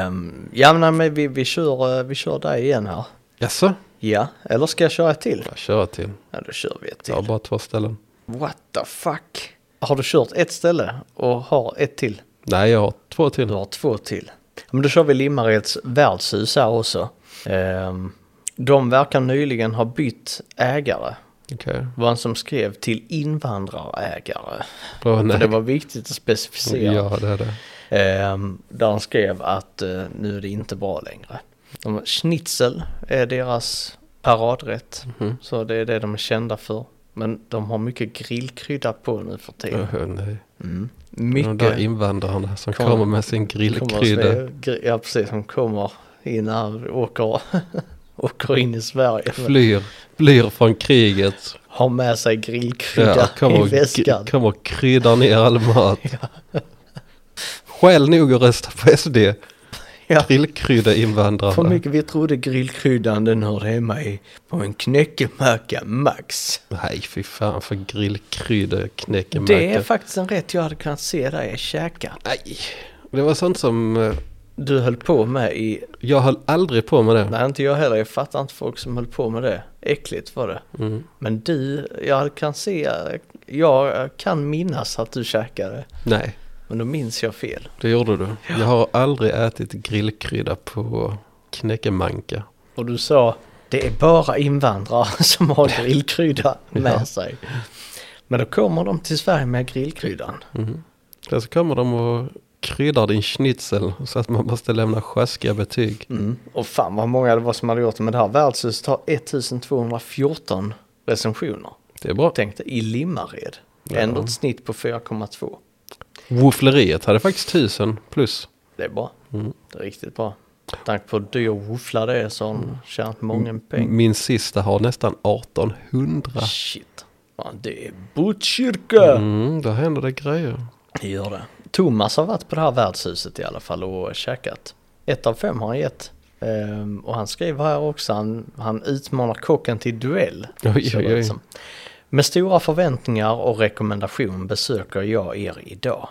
[SPEAKER 2] Um, ja men nej, men vi, vi kör, eh, vi kör dig igen här.
[SPEAKER 1] Jaså?
[SPEAKER 2] Ja, eller ska jag köra ett till?
[SPEAKER 1] Jag kör till.
[SPEAKER 2] Ja då kör vi ett till.
[SPEAKER 1] Jag har bara två ställen.
[SPEAKER 2] What the fuck? Har du kört ett ställe och har ett till?
[SPEAKER 1] Nej, jag har två till.
[SPEAKER 2] Du har två till. Ja, Men då kör vi Limmareds värdshus här också. Ehm, de verkar nyligen ha bytt ägare.
[SPEAKER 1] Okej.
[SPEAKER 2] Det var en som skrev till invandrarägare.
[SPEAKER 1] Åh
[SPEAKER 2] För
[SPEAKER 1] nej.
[SPEAKER 2] det var viktigt att specificera.
[SPEAKER 1] Ja, det är det.
[SPEAKER 2] Ehm, där han skrev att eh, nu är det inte bra längre. De, schnitzel är deras paradrätt.
[SPEAKER 1] Mhm.
[SPEAKER 2] Så det är det de är kända för. Men de har mycket grillkrydda på nu för tiden. Mm.
[SPEAKER 1] Åh, nej. De där
[SPEAKER 2] Mycket.
[SPEAKER 1] invandrarna som
[SPEAKER 2] Kommer-
[SPEAKER 1] kommer med sin
[SPEAKER 2] kommer
[SPEAKER 1] grillkrydda.
[SPEAKER 2] att se- gri- Ja, precis. De kommer in här och åker, åker in i Sverige.
[SPEAKER 1] Flyr, flyr från kriget.
[SPEAKER 2] Har med sig
[SPEAKER 1] Ja,
[SPEAKER 2] grillkrydda
[SPEAKER 1] kommer,
[SPEAKER 2] i väskan.
[SPEAKER 1] och- kommer och kryddar ner all mat. Skäl nog att rösta på SD.
[SPEAKER 2] Ja.
[SPEAKER 1] Grillkrydda
[SPEAKER 2] För
[SPEAKER 1] invandrarna.
[SPEAKER 2] mycket vi trodde grillkryddan den hörde hemma i på en knäckemacka max.
[SPEAKER 1] Nej, fy fan för grillkrydda knäckemacka.
[SPEAKER 2] Det är faktiskt en rätt jag hade kunnat se dig käka.
[SPEAKER 1] Nej, det var sånt som... eh,
[SPEAKER 2] Du höll på med i...
[SPEAKER 1] Jag höll aldrig på med det.
[SPEAKER 2] Nej, inte jag heller. Jag fattar inte folk som höll på med det. Äckligt var det.
[SPEAKER 1] Mm.
[SPEAKER 2] Men du, jag kan se... Jag kan minnas att du käkade.
[SPEAKER 1] Nej,
[SPEAKER 2] Men då minns jag fel.
[SPEAKER 1] det gjorde du. Jag har aldrig ätit grillkrydda på knäckemanka.
[SPEAKER 2] Och du sa, det är bara invandrare som har grillkrydda med
[SPEAKER 1] Ja.
[SPEAKER 2] sig. Men då kommer de till Sverige med grillkryddan.
[SPEAKER 1] Sen så kommer de och kryddar din schnitzel så att man måste lämna sjaskiga betyg.
[SPEAKER 2] Och fan vad många det var som hade gjort det. Men det här värdshuset har 1214 recensioner.
[SPEAKER 1] Det är bra.
[SPEAKER 2] tänkte i Limmared. Ändå ett snitt på 4,2.
[SPEAKER 1] Våffleriet hade faktiskt tusen plus.
[SPEAKER 2] Det är bra.
[SPEAKER 1] Mm.
[SPEAKER 2] Det är riktigt bra. Med Tanke på hur dyr våffla det är så har
[SPEAKER 1] Mm.
[SPEAKER 2] de tjänat många pengar.
[SPEAKER 1] Min sista har nästan 1800.
[SPEAKER 2] Shit. Fan, det är Botkyrka.
[SPEAKER 1] Mm, där händer det grejer.
[SPEAKER 2] Det gör det. Thomas har varit på det här värdshuset i alla fall och käkat. Ett av fem har han gett. Ehm, och han skriver här också, han, han utmanar kocken till duell.
[SPEAKER 1] Oj,
[SPEAKER 2] ser det
[SPEAKER 1] oj,
[SPEAKER 2] ut
[SPEAKER 1] oj.
[SPEAKER 2] som. Med stora förväntningar och rekommendation besöker jag er idag.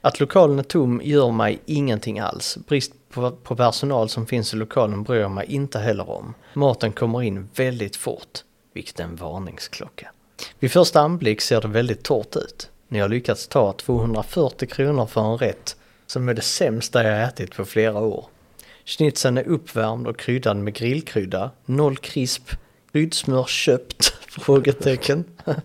[SPEAKER 2] Att lokalen är tom gör mig ingenting alls. Brist på, på personal som finns i lokalen bryr jag mig inte heller om. Maten kommer in väldigt fort, vilket är en varningsklocka. Vid första anblick ser det väldigt torrt ut. Ni har lyckats ta 240 kronor för en rätt som är det sämsta jag ätit på flera år. Schnitzeln är uppvärmd och kryddad med grillkrydda, noll krisp, kryddsmör köpt? Frågetecken.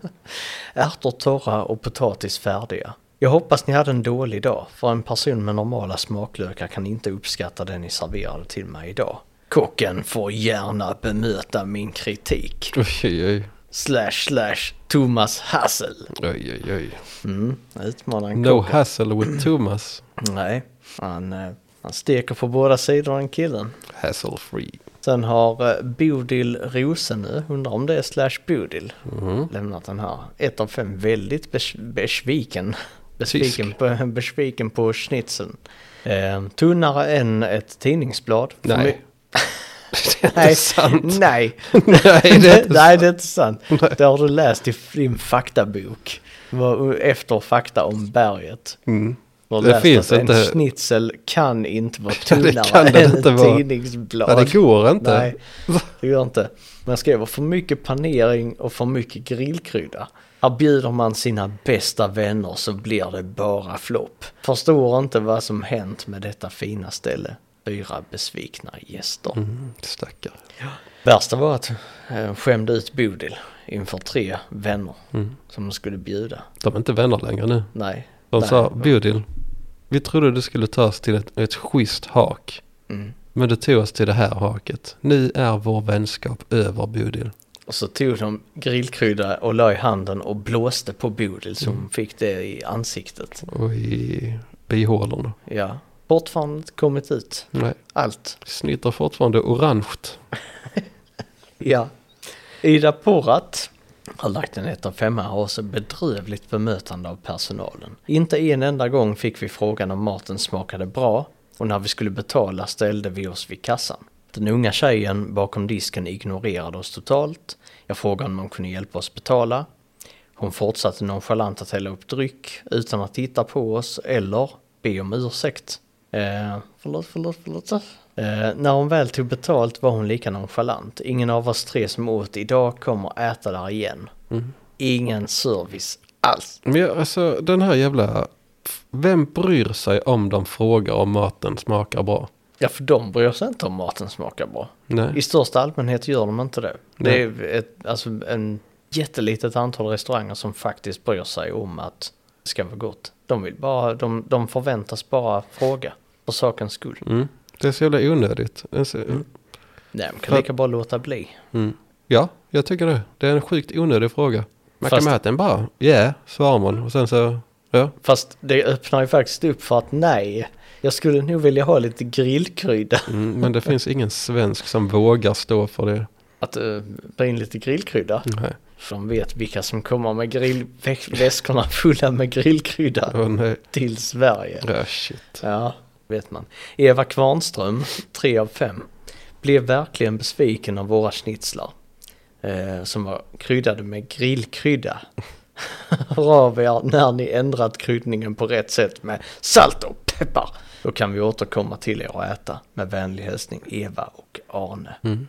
[SPEAKER 2] Ärtor torra och potatis färdiga. Jag hoppas ni hade en dålig dag, för en person med normala smaklökar kan inte uppskatta det ni serverade till mig idag. Kocken får gärna bemöta min kritik.
[SPEAKER 1] Oj, oj, oj.
[SPEAKER 2] Slash slash Thomas Hassel.
[SPEAKER 1] oj, oj, oj.
[SPEAKER 2] Mm, utmanaren
[SPEAKER 1] No
[SPEAKER 2] kocken.
[SPEAKER 1] hassle with Thomas.
[SPEAKER 2] Nej, han, eh, han steker på båda sidor den killen.
[SPEAKER 1] Hassle free.
[SPEAKER 2] Sen har eh, Bodil Rosenö, undrar om det är slash Bodil,
[SPEAKER 1] Mhm.
[SPEAKER 2] lämnat den här. Ett av fem väldigt bes- besviken. Besviken
[SPEAKER 1] Tysk.
[SPEAKER 2] på, besviken på schnitzeln. Eh, tunnare än ett tidningsblad. För
[SPEAKER 1] Nej.
[SPEAKER 2] my-
[SPEAKER 1] Det är inte sant.
[SPEAKER 2] Nej.
[SPEAKER 1] Nej, det är inte
[SPEAKER 2] Nej, det är inte sant. Det har du läst i din faktabok. Det var Efter fakta om berget.
[SPEAKER 1] Mm.
[SPEAKER 2] Du har
[SPEAKER 1] Det
[SPEAKER 2] läst
[SPEAKER 1] finns
[SPEAKER 2] att En
[SPEAKER 1] inte.
[SPEAKER 2] schnitzel kan inte vara
[SPEAKER 1] Ja, det
[SPEAKER 2] tunnare
[SPEAKER 1] kan den
[SPEAKER 2] än
[SPEAKER 1] inte
[SPEAKER 2] ett
[SPEAKER 1] vara.
[SPEAKER 2] tidningsblad.
[SPEAKER 1] Nej, det går inte.
[SPEAKER 2] Nej, det gör inte. Man skriver för mycket panering och för mycket grillkrydda. Här bjuder man sina bästa vänner så blir det bara flopp. Förstår inte vad som hänt med detta fina ställe. Fyra besvikna gäster.
[SPEAKER 1] Mm, Stackare.
[SPEAKER 2] Värsta var att eh, skämde ut Bodil inför tre vänner som hon skulle bjuda.
[SPEAKER 1] De är inte vänner längre nu.
[SPEAKER 2] Nej.
[SPEAKER 1] De
[SPEAKER 2] nej.
[SPEAKER 1] sa, Bodil, vi trodde du skulle ta oss till ett, ett schysst hak.
[SPEAKER 2] Mm.
[SPEAKER 1] Men du tog oss till det här haket. Nu är vår vänskap över Bodil.
[SPEAKER 2] Och så tog de grillkrydda och la i handen och blåste på Bodil så hon fick det i ansiktet.
[SPEAKER 1] Och i bihålorna.
[SPEAKER 2] Ja, fortfarande inte kommit ut.
[SPEAKER 1] Nej,
[SPEAKER 2] Allt.
[SPEAKER 1] snittar fortfarande orange.
[SPEAKER 2] Ja. Ida Porat har lagt en ett av femma och har så bedrövligt bemötande av personalen. Inte en enda gång fick vi frågan om maten smakade bra och när vi skulle betala ställde vi oss vid kassan. Den unga tjejen bakom disken ignorerade oss totalt. Jag frågade om hon kunde hjälpa oss betala. Hon fortsatte nonchalant att hälla upp dryck utan att titta på oss eller be om ursäkt. Eh, förlåt, förlåt, förlåt. Eh, när hon väl tog betalt var hon lika nonchalant. Ingen av oss tre som åt idag kommer äta där igen. Ingen service alls.
[SPEAKER 1] Men jag, alltså den här jävla... Vem bryr sig om de frågar om maten smakar bra?
[SPEAKER 2] Ja, för de bryr sig inte om maten smakar bra. I
[SPEAKER 1] Nej.
[SPEAKER 2] största allmänhet gör de inte det. Det
[SPEAKER 1] Nej.
[SPEAKER 2] är ett, alltså, en jättelitet antal restauranger som faktiskt bryr sig om att det ska vara gott. De, vill bara, de, de förväntas bara fråga för sakens skull.
[SPEAKER 1] Mm. Det är så jävla onödigt. Alltså, Det är så-
[SPEAKER 2] Mm. Nej, man kan lika bara låta bli.
[SPEAKER 1] Mm. Ja, jag tycker det. Det är en sjukt onödig fråga. Man kan
[SPEAKER 2] Fast-
[SPEAKER 1] mäta den bara. Ja, yeah, svarar man. Och sen så... Ja.
[SPEAKER 2] Fast det öppnar ju faktiskt upp för att nej, jag skulle nog vilja ha lite grillkrydda.
[SPEAKER 1] Mm, men det finns ingen svensk som vågar stå för det.
[SPEAKER 2] Att uh, ta in lite grillkrydda.
[SPEAKER 1] Nej.
[SPEAKER 2] För de vet vilka som kommer med grillväskorna fulla med grillkrydda
[SPEAKER 1] Åh, nej.
[SPEAKER 2] till Sverige.
[SPEAKER 1] Ja, shit.
[SPEAKER 2] Ja, vet man. Eva Kvarnström, 3 av 5, blev verkligen besviken av våra schnitzlar. Eh, som var kryddade med grillkrydda. Hör av er när ni ändrat kryddningen på rätt sätt med salt och peppar. Då kan vi återkomma till er och äta. Med vänlig hälsning Eva och Arne.
[SPEAKER 1] Mm.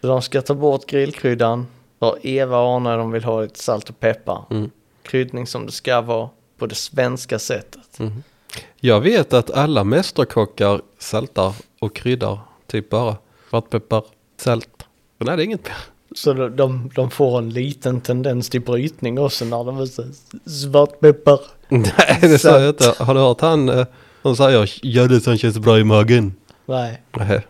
[SPEAKER 2] Så de ska ta bort grillkryddan. För Eva och Arne de vill ha lite salt och peppar.
[SPEAKER 1] Mm.
[SPEAKER 2] Kryddning som det ska vara på det svenska sättet.
[SPEAKER 1] Jag vet att alla mästerkockar saltar och kryddar. Typ bara svartpeppar, salt. Men nej, det är inget mer.
[SPEAKER 2] Så de- de, de får en liten tendens till brytning också när de är så svartpeppar.
[SPEAKER 1] Nej, det sa jag inte. Har du hört han eh, som säger gör det som känns bra i magen?
[SPEAKER 2] Nej,
[SPEAKER 1] Nej,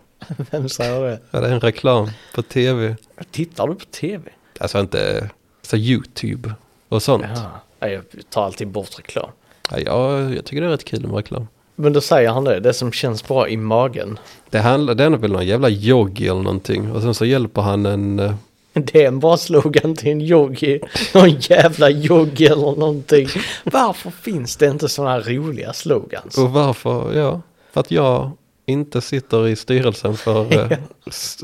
[SPEAKER 2] vem säger det?
[SPEAKER 1] ja, det är en reklam på tv.
[SPEAKER 2] Tittar du på tv?
[SPEAKER 1] Alltså inte, alltså YouTube och sånt.
[SPEAKER 2] Ja, jag tar alltid bort reklam.
[SPEAKER 1] Ja, jag, jag tycker det är rätt kul med reklam.
[SPEAKER 2] Men då säger han det, det som känns bra i magen.
[SPEAKER 1] Det handlar, det är väl någon jävla yogi eller någonting. Och sen så hjälper han en, eh,
[SPEAKER 2] Det är en bra slogan till en yogi. Någon jävla yogi eller någonting. Varför finns det inte sådana roliga slogans?
[SPEAKER 1] och varför, ja, för att jag inte sitter i styrelsen för eh, s-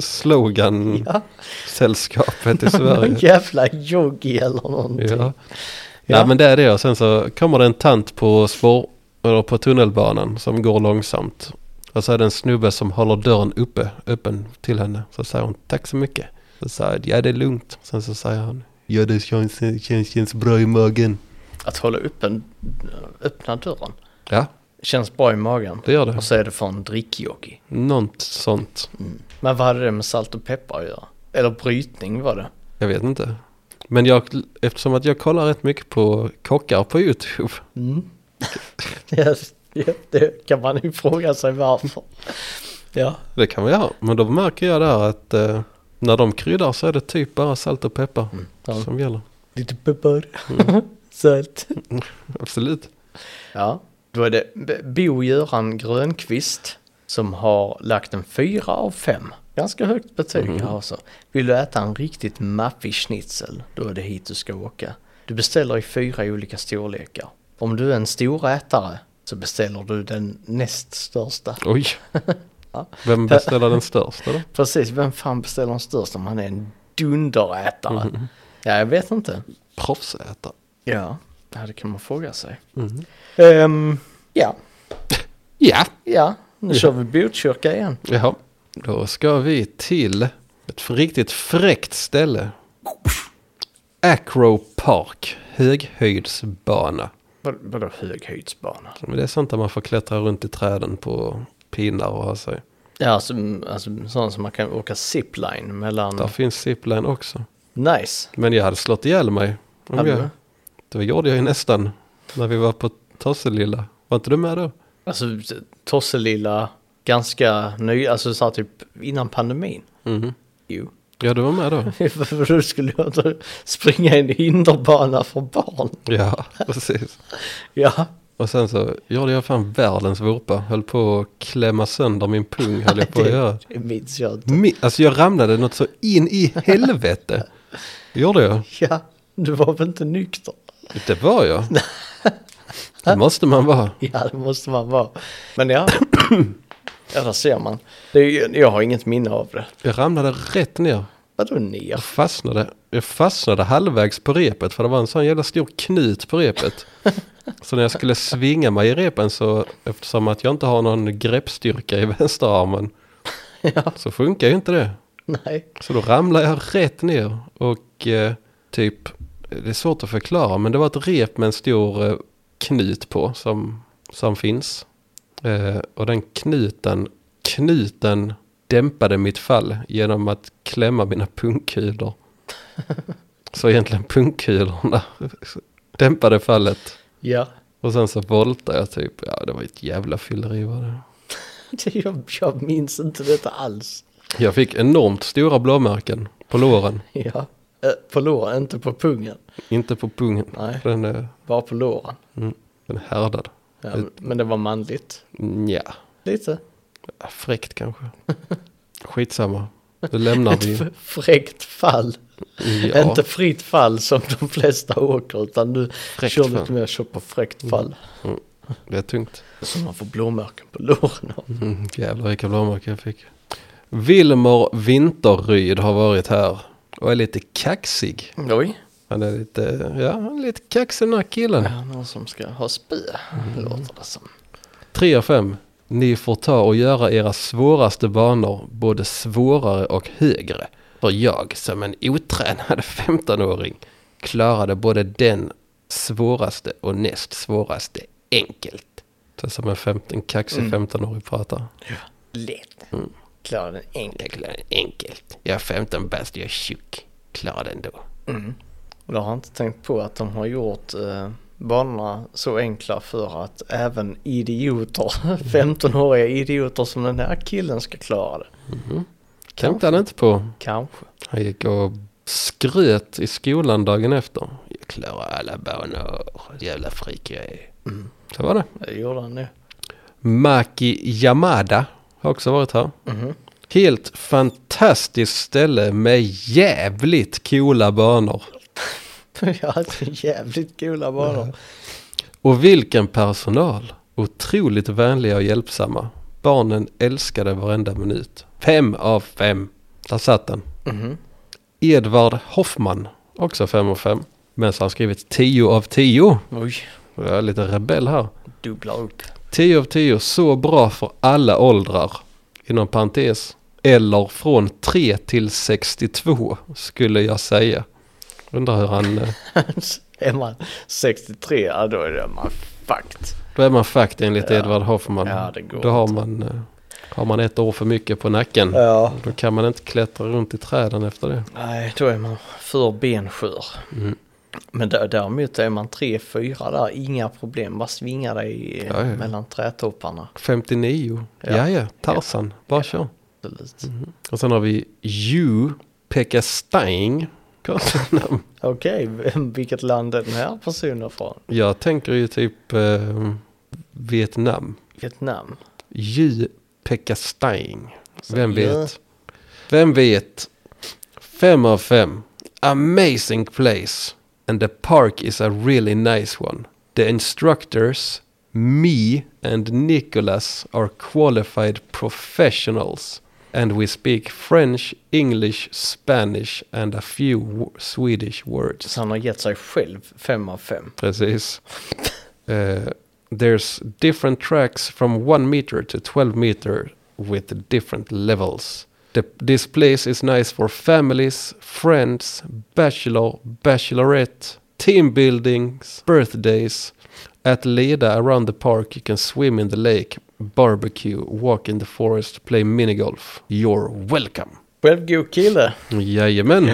[SPEAKER 1] slogan-sällskapet i
[SPEAKER 2] Någon
[SPEAKER 1] Sverige.
[SPEAKER 2] jävla yogi eller någonting.
[SPEAKER 1] Ja.
[SPEAKER 2] Ja.
[SPEAKER 1] Nej men det är det och sen så kommer det en tant på spår, Eller på tunnelbanan som går långsamt. Och så är det en snubbe som håller dörren uppe, öppen till henne. Så säger hon tack så mycket. Så säger jag ja det är lugnt. Sen så säger han ja det känns, känns, känns bra i magen.
[SPEAKER 2] Att hålla upp en, öppna dörren.
[SPEAKER 1] Ja,
[SPEAKER 2] Känns bra i magen.
[SPEAKER 1] det gör det.
[SPEAKER 2] Och så är det för en drickjockey.
[SPEAKER 1] Något sånt.
[SPEAKER 2] Men vad hade det med salt och peppar att göra? Eller brytning var det.
[SPEAKER 1] Jag vet inte. Men jag, eftersom att jag kollar rätt mycket på kockar på YouTube.
[SPEAKER 2] Mm. ja, ja, det kan man ju fråga sig varför. ja.
[SPEAKER 1] Det kan vi göra. Men då märker jag där att eh, när de kryddar så är det typ bara salt och peppar
[SPEAKER 2] ja.
[SPEAKER 1] som gäller.
[SPEAKER 2] Lite peppar. Mm. Salt.
[SPEAKER 1] Absolut.
[SPEAKER 2] Ja. Då är det B- Bo-Göran Grönqvist som har lagt en fyra av fem. Ganska högt betyg här alltså. Vill du äta en riktigt maffig schnitzel, då är det hit du ska åka. Du beställer i fyra olika storlekar. Om du är en stor ätare så beställer du den näst största.
[SPEAKER 1] Oj.
[SPEAKER 2] Ja.
[SPEAKER 1] Vem beställer den största då?
[SPEAKER 2] Precis, vem fan beställer den största om han är en dunderätare? Ja, jag vet inte.
[SPEAKER 1] Proffsätare.
[SPEAKER 2] Ja, ja det kan man fråga sig.
[SPEAKER 1] Mhm.
[SPEAKER 2] Ehm, ja,
[SPEAKER 1] Ja.
[SPEAKER 2] ja, nu kör vi Botkyrka igen.
[SPEAKER 1] Jaha. Då ska vi till ett riktigt fräckt ställe. Acro Park. Höghöjdsbana.
[SPEAKER 2] Vad- Vadå höghöjdsbana?
[SPEAKER 1] Men Det är sånt där man får klättra runt i träden på pinnar och ha sig.
[SPEAKER 2] Ja, alltså, alltså sådant som man kan åka zipline mellan...
[SPEAKER 1] Där finns zipline också.
[SPEAKER 2] Nice!
[SPEAKER 1] Men jag hade slått ihjäl mig. Om
[SPEAKER 2] Hade
[SPEAKER 1] jag,
[SPEAKER 2] du?
[SPEAKER 1] det gjorde jag ju nästan. När vi var på Tosselilla. Var inte du med då?
[SPEAKER 2] Alltså Tosselilla, ganska ny, alltså så här typ innan pandemin.
[SPEAKER 1] Mhm.
[SPEAKER 2] Jo.
[SPEAKER 1] Ja, du var med då.
[SPEAKER 2] Varför skulle jag inte springa i en hinderbana för barn?
[SPEAKER 1] Ja, precis.
[SPEAKER 2] Ja,
[SPEAKER 1] Och sen så gjorde jag fan världens vurpa. Höll på att klämma sönder min pung. Höll jag på att göra.
[SPEAKER 2] det, det minns jag inte.
[SPEAKER 1] Mi- Alltså jag ramlade något så in i helvete. Gjorde jag?
[SPEAKER 2] Ja, du var väl inte nykter?
[SPEAKER 1] Det var jag. Det måste man vara.
[SPEAKER 2] Ja, det måste man vara. Men ja, ja där ser man. Det är, ju- jag har inget minne av det.
[SPEAKER 1] Jag ramlade rätt ner.
[SPEAKER 2] Vadå ner?
[SPEAKER 1] Jag fastnade, jag fastnade halvvägs på repet för det var en sån jävla stor knut på repet. Så när jag skulle svinga mig i repen så eftersom att jag inte har någon greppstyrka i vänsterarmen
[SPEAKER 2] Ja,
[SPEAKER 1] så funkar ju inte det.
[SPEAKER 2] nej.
[SPEAKER 1] Så då ramlade jag rätt ner och eh, typ, det är svårt att förklara men det var ett rep med en stor eh, knut på som, som finns. Eh, och den knuten, knuten dämpade mitt fall genom att klämma mina pungkulor. Så egentligen pungkulorna dämpade fallet.
[SPEAKER 2] Ja,
[SPEAKER 1] Och sen så voltade jag typ, ja det var ett jävla fylleri var det.
[SPEAKER 2] det, jag, jag minns inte detta alls.
[SPEAKER 1] Jag fick enormt stora blåmärken på låren,
[SPEAKER 2] Ja, Eh, på låren, inte på pungen.
[SPEAKER 1] inte på pungen.
[SPEAKER 2] Nej.
[SPEAKER 1] Den eh, är
[SPEAKER 2] Bara på låren.
[SPEAKER 1] Mm. Den är härdad.
[SPEAKER 2] Ja, men- men det var manligt.
[SPEAKER 1] Nja,
[SPEAKER 2] Lite.
[SPEAKER 1] fräckt kanske. Skitsamma. Det lämnar
[SPEAKER 2] Ett
[SPEAKER 1] vi.
[SPEAKER 2] f- fräckt fall.
[SPEAKER 1] Ja.
[SPEAKER 2] Inte fritt fall som de flesta åker, utan du
[SPEAKER 1] Fräckt
[SPEAKER 2] kör
[SPEAKER 1] fall.
[SPEAKER 2] lite mer kör på fräckt fall.
[SPEAKER 1] Det är tungt.
[SPEAKER 2] Mm. Så man får blåmärken på låren. av.
[SPEAKER 1] Mm, jävlar vilka blåmärken jag fick. Vilmer Vinterryd har varit här och är lite kaxig.
[SPEAKER 2] Oj.
[SPEAKER 1] Han är lite, ja, han är lite kaxig den här killen.
[SPEAKER 2] Ja, någon som ska ha spö, låter det som.
[SPEAKER 1] 3 av 5. Ni får ta och göra era svåraste banor både svårare och högre. För jag som en otränad 15-åring klarade både den svåraste och näst svåraste enkelt. Det är som en, 15, en kaxig 15-åring pratar.
[SPEAKER 2] Lätt. Klara den enkelt.
[SPEAKER 1] Jag klarade den enkelt. Jag är 15 bast, jag är tjock. Klarar den då.
[SPEAKER 2] Och då har jag inte tänkt på att de har gjort eh, banorna så enkla för att även idioter, 15-åriga idioter som den här killen ska klara det.
[SPEAKER 1] Tänkte han inte på.
[SPEAKER 2] Kanske.
[SPEAKER 1] Han gick och skröt i skolan dagen efter. Jag klarar alla banor. Jävla frik jag är. Så var det.
[SPEAKER 2] Det gjorde han nu.
[SPEAKER 1] Maki Yamada har också varit här. Helt fantastiskt ställe med jävligt coola banor.
[SPEAKER 2] Jag hade så jävligt coola banor.
[SPEAKER 1] Och vilken personal! Otroligt vänliga och hjälpsamma. Barnen älskade varenda minut. Fem av fem. Där satt den.
[SPEAKER 2] Mhm.
[SPEAKER 1] Edvard Hoffman, också fem av fem. Men så har han skrivit tio av tio.
[SPEAKER 2] Oj.
[SPEAKER 1] Jag är lite rebell här.
[SPEAKER 2] Dubbla upp.
[SPEAKER 1] 10 av 10, så bra för alla åldrar. Inom parentes. Eller från 3 till 62 skulle jag säga. Undrar hur han... eh,
[SPEAKER 2] är man 63, ja då är det man fucked.
[SPEAKER 1] Då är man fakt enligt
[SPEAKER 2] Ja.
[SPEAKER 1] Edvard Hoffman.
[SPEAKER 2] Ja, det går
[SPEAKER 1] Då har
[SPEAKER 2] inte.
[SPEAKER 1] man, eh, har man ett år för mycket på nacken.
[SPEAKER 2] Ja.
[SPEAKER 1] Då kan man inte klättra runt i träden efter det.
[SPEAKER 2] Nej, då är man för benskör.
[SPEAKER 1] Mm.
[SPEAKER 2] Men där, däremot är man 3-4 där, inga problem. Bara svinga dig eh,
[SPEAKER 1] Ja, ja.
[SPEAKER 2] mellan trädtopparna.
[SPEAKER 1] 59.
[SPEAKER 2] Ja.
[SPEAKER 1] Ja. Jaja, Tarzan. Bara kör.
[SPEAKER 2] Absolut.
[SPEAKER 1] Och sen har vi Ju Pekka Steing. Konstigt namn.
[SPEAKER 2] Okej, vilket land är den här personen från?
[SPEAKER 1] Jag tänker ju typ eh, Vietnam.
[SPEAKER 2] Vietnam.
[SPEAKER 1] Ju Pekka Steing.
[SPEAKER 2] Så,
[SPEAKER 1] Vem
[SPEAKER 2] ja.
[SPEAKER 1] vet? Vem vet? Fem av fem. Amazing place. And the park is a really nice one. The instructors, me and Nicholas are qualified professionals. And we speak French, English, Spanish and a few w- Swedish words.
[SPEAKER 2] Så han har gett sig själv 5 av 5.
[SPEAKER 1] Precis. Eh, there's different tracks from 1 meter to 12 meter with different levels. The, this place is nice for families, friends, bachelor, bachelorette, team buildings, birthdays. At Leda around the park you can swim in the lake, barbecue, walk in the forest, play minigolf. You're welcome.
[SPEAKER 2] Självgod kille.
[SPEAKER 1] Jajamän.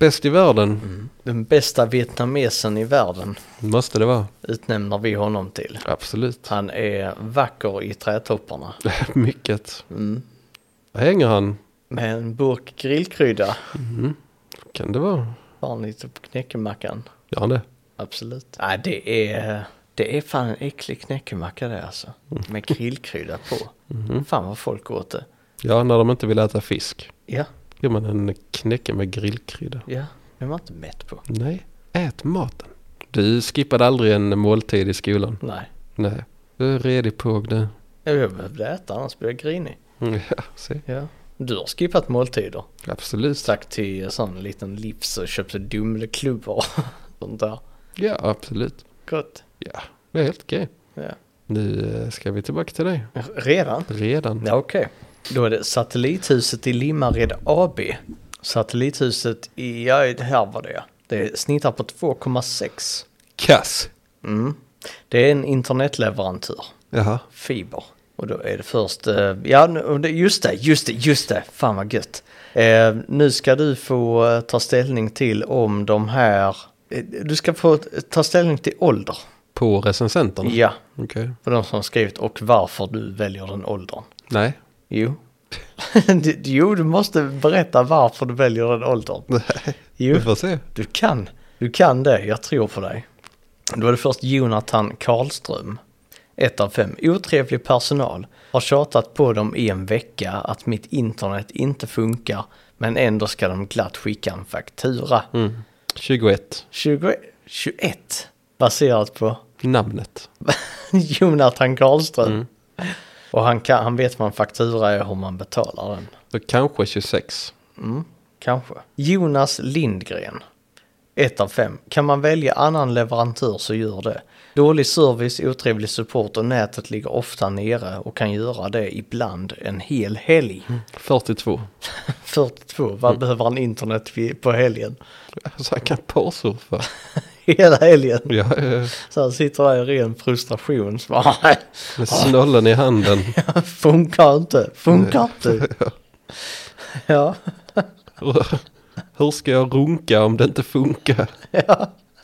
[SPEAKER 1] Bäst i världen
[SPEAKER 2] Den bästa vietnamesen i världen
[SPEAKER 1] måste det vara.
[SPEAKER 2] utnämner vi honom till.
[SPEAKER 1] Absolut.
[SPEAKER 2] Han är vacker i trädtopparna.
[SPEAKER 1] Mycket.
[SPEAKER 2] Mm.
[SPEAKER 1] Hänger han?
[SPEAKER 2] Med en burk grillkrydda.
[SPEAKER 1] Mhm. Kan det vara?
[SPEAKER 2] Vanligt på knäckemackan.
[SPEAKER 1] Gör han det?
[SPEAKER 2] Absolut. Nej, det är... Det är fan en äcklig knäckemacka det alltså. Med grillkrydda på.
[SPEAKER 1] Mhm.
[SPEAKER 2] Fan vad folk åt det.
[SPEAKER 1] Ja, när de inte vill äta fisk.
[SPEAKER 2] Ja,
[SPEAKER 1] Gör man en knäcke med grillkrydda.
[SPEAKER 2] ja. Det är man inte mätt på.
[SPEAKER 1] Nej, ät maten. Du skippade aldrig en måltid i skolan.
[SPEAKER 2] Nej.
[SPEAKER 1] Nej, du är redig påg du.
[SPEAKER 2] Jag behövde äta annars blir jag grinig.
[SPEAKER 1] Mm, Ja, se.
[SPEAKER 2] Ja. Du har skippat måltider.
[SPEAKER 1] Absolut.
[SPEAKER 2] Stack till sån liten livs och köpte Dumleklubbor och sånt där.
[SPEAKER 1] Ja, absolut.
[SPEAKER 2] Gott.
[SPEAKER 1] Ja, det är helt okej.
[SPEAKER 2] Ja.
[SPEAKER 1] Nu eh, ska vi tillbaka till dig.
[SPEAKER 2] Redan?
[SPEAKER 1] Redan.
[SPEAKER 2] Ja, okej. Då är det Satellithuset i Limmared AB. Satellithuset i, ja, det här var det ja. Det snittar på 2,6.
[SPEAKER 1] Kass.
[SPEAKER 2] Mm. Det är en internetleverantör,
[SPEAKER 1] Jaha.
[SPEAKER 2] fiber. Och då är det först, eh, ja nu- och det- just det, just det, just det, fan vad gött. Eh, nu ska du få eh, ta ställning till om de här, eh, du ska få t- ta ställning till ålder.
[SPEAKER 1] På recensenterna?
[SPEAKER 2] Ja,
[SPEAKER 1] Okej.
[SPEAKER 2] för de som har skrivit och varför du väljer den åldern.
[SPEAKER 1] Nej.
[SPEAKER 2] Jo. Du- jo, du måste berätta varför du väljer den åldern. Jo,
[SPEAKER 1] Vi får se.
[SPEAKER 2] du kan. Du kan det, jag tror på dig. Då är det först Jonathan Karlström. Ett av fem. Otrevlig personal. Har tjatat på dem i en vecka att mitt internet inte funkar. Men ändå ska de glatt skicka en faktura.
[SPEAKER 1] Mm. 21.
[SPEAKER 2] 20, 21. Baserat på
[SPEAKER 1] Namnet.
[SPEAKER 2] Jonathan Karlström. Och han, kan, han vet vad en faktura är och hur man betalar den.
[SPEAKER 1] Så kanske 26.
[SPEAKER 2] Mm, kanske. Jonas Lindgren. 1 av 5. Kan man välja annan leverantör så gör det. Dålig service, otrevlig support och nätet ligger ofta nere och kan göra det ibland en hel helg.
[SPEAKER 1] 42.
[SPEAKER 2] 42. Vad behöver han internet vid- på helgen?
[SPEAKER 1] Så han kan porrsurfa.
[SPEAKER 2] Hela helgen.
[SPEAKER 1] Ja, eh,
[SPEAKER 2] Så han sitter där i ren frustration. Så bara, "Nej,
[SPEAKER 1] med snollen i handen.
[SPEAKER 2] funkar inte, funkar inte. Ja,
[SPEAKER 1] Hur- Hur ska jag runka om det inte funkar?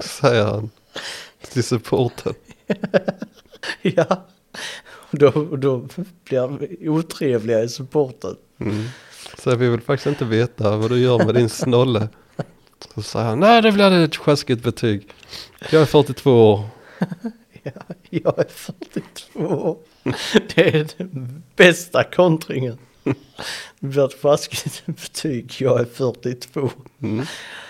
[SPEAKER 1] Säger han. Till supporten.
[SPEAKER 2] ja. Då, då blir han otrevliga i supporten.
[SPEAKER 1] Så jag vill faktiskt inte veta vad du gör med din snolle. Så säger han, nej det blir ett sjaskigt betyg. Jag är 42 år.
[SPEAKER 2] Jag är 42. Det är den bästa kontringen. Det blir ett flaskigt betyg. Jag är 42.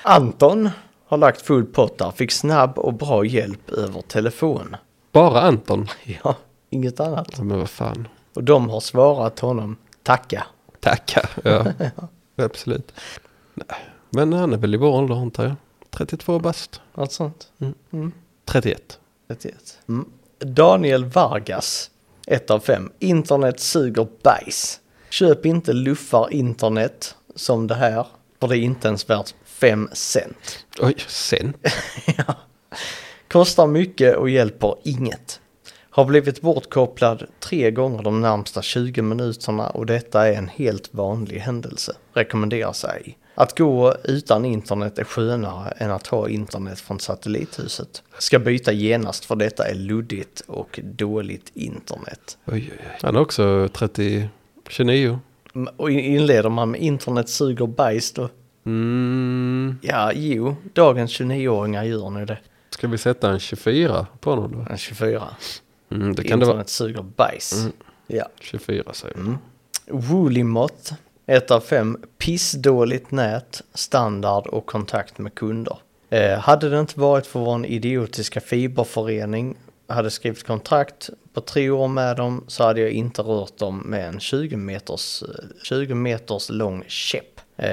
[SPEAKER 2] Anton har lagt full pott där. Fick snabb och bra hjälp över telefon.
[SPEAKER 1] Bara Anton.
[SPEAKER 2] Ja, inget annat.
[SPEAKER 1] Ja, Men vad fan.
[SPEAKER 2] Och de har svarat honom. Tacka.
[SPEAKER 1] Tacka. Ja. Absolut. Nej. Men han är väl i vår ålder antar jag. 32 bast.
[SPEAKER 2] Något sånt.
[SPEAKER 1] 31.
[SPEAKER 2] 31. Mm. Daniel Vargas, 1 av 5. Internet suger bajs. Köp inte luffar internet som det här, för det är inte ens värt 5 cent.
[SPEAKER 1] Oj, sen.
[SPEAKER 2] Ja. Kostar mycket och hjälper inget. Har blivit bortkopplad tre gånger de närmsta 20 minuterna och detta är en helt vanlig händelse. Rekommenderas ej. Att gå utan internet är skönare än att ha internet från satellithuset. Ska byta genast för detta är luddigt och dåligt internet.
[SPEAKER 1] Oj, oj, oj. Han är också 30, 29.
[SPEAKER 2] M- Och in- inleder man med internet suger bajs då?
[SPEAKER 1] Mm.
[SPEAKER 2] Ja, jo, dagens 29-åringar gör nu det.
[SPEAKER 1] Ska vi sätta en 24 på honom då?
[SPEAKER 2] Den 24.
[SPEAKER 1] Mm, det kan det
[SPEAKER 2] internet
[SPEAKER 1] vara. Mm.
[SPEAKER 2] suger bajs. Ja.
[SPEAKER 1] 24 säger vi.
[SPEAKER 2] Mm. Woolimot, 1 av 5, pissdåligt nät, standard och kontakt med kunder. Eh, hade det inte varit för vår idiotiska fiberförening, hade skrivit kontrakt på tre år med dem, så hade jag inte rört dem med en 20 meters, eh, 20 meters lång käpp. Eh,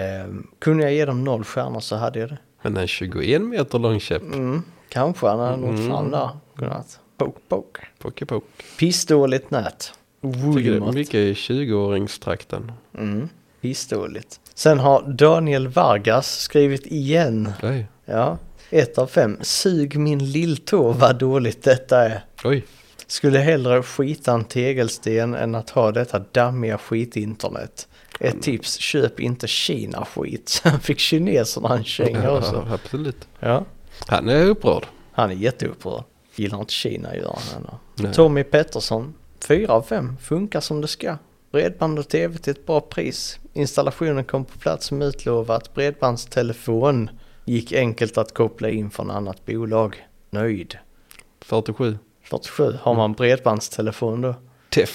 [SPEAKER 2] kunde jag ge dem noll stjärnor så hade jag det.
[SPEAKER 1] Men en 21 meter lång käpp.
[SPEAKER 2] Mm, kanske han hade nått fram där. Godnatt. Mm. Poke, poke.
[SPEAKER 1] Poke poke.
[SPEAKER 2] Pissdåligt nät.
[SPEAKER 1] Tycker det är
[SPEAKER 2] Woolimot.
[SPEAKER 1] mycket i 20-åringstrakten.
[SPEAKER 2] Mm, pissdåligt. Sen har Daniel Vargas skrivit igen.
[SPEAKER 1] Oj.
[SPEAKER 2] Ja, ett av fem. Sug min lilltå vad dåligt detta är.
[SPEAKER 1] Oj.
[SPEAKER 2] Skulle hellre skita en tegelsten än att ha detta dammiga skitinternet. Ett tips, köp inte Kina-skit. Han fick kineserna en känga också.
[SPEAKER 1] Ja, absolut.
[SPEAKER 2] Ja.
[SPEAKER 1] Han är upprörd.
[SPEAKER 2] Han är jätteupprörd. Gillar inte Kina gör han heller.
[SPEAKER 1] Nej.
[SPEAKER 2] Tommy Pettersson, 4 av 5, funkar som det ska. Bredband och tv till ett bra pris. Installationen kom på plats som utlovat. Bredbandstelefon gick enkelt att koppla in från annat bolag. Nöjd.
[SPEAKER 1] 47.
[SPEAKER 2] 47, har man bredbandstelefon då?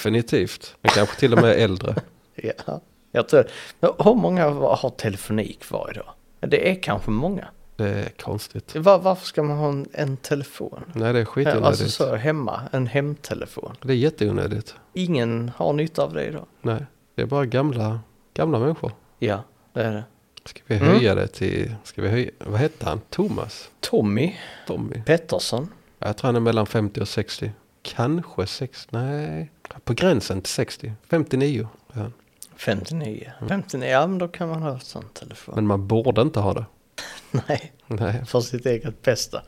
[SPEAKER 1] Definitivt. Han kanske till och med är äldre.
[SPEAKER 2] Ja, jag tror Men Hur många har telefonik kvar idag? Det är kanske många.
[SPEAKER 1] Det är konstigt.
[SPEAKER 2] Var, varför ska man ha en, en telefon?
[SPEAKER 1] Nej, det är skitonödigt.
[SPEAKER 2] Alltså så hemma, en hemtelefon.
[SPEAKER 1] Det är jätteonödigt.
[SPEAKER 2] Ingen har nytta av det idag.
[SPEAKER 1] Nej, det är bara gamla, gamla människor.
[SPEAKER 2] Ja, det är det.
[SPEAKER 1] Ska vi
[SPEAKER 2] Mm.
[SPEAKER 1] höja det till, ska vi höja, vad hette han? Thomas?
[SPEAKER 2] Tommy
[SPEAKER 1] Tommy?
[SPEAKER 2] Pettersson.
[SPEAKER 1] Ja, Jag tror han är mellan 50 och 60. Kanske 60, nej. På gränsen till 60. 59 är han.
[SPEAKER 2] 59. 59, ja men då kan man ha en sån telefon.
[SPEAKER 1] Men man borde inte ha det.
[SPEAKER 2] Nej,
[SPEAKER 1] Nej,
[SPEAKER 2] för sitt eget bästa.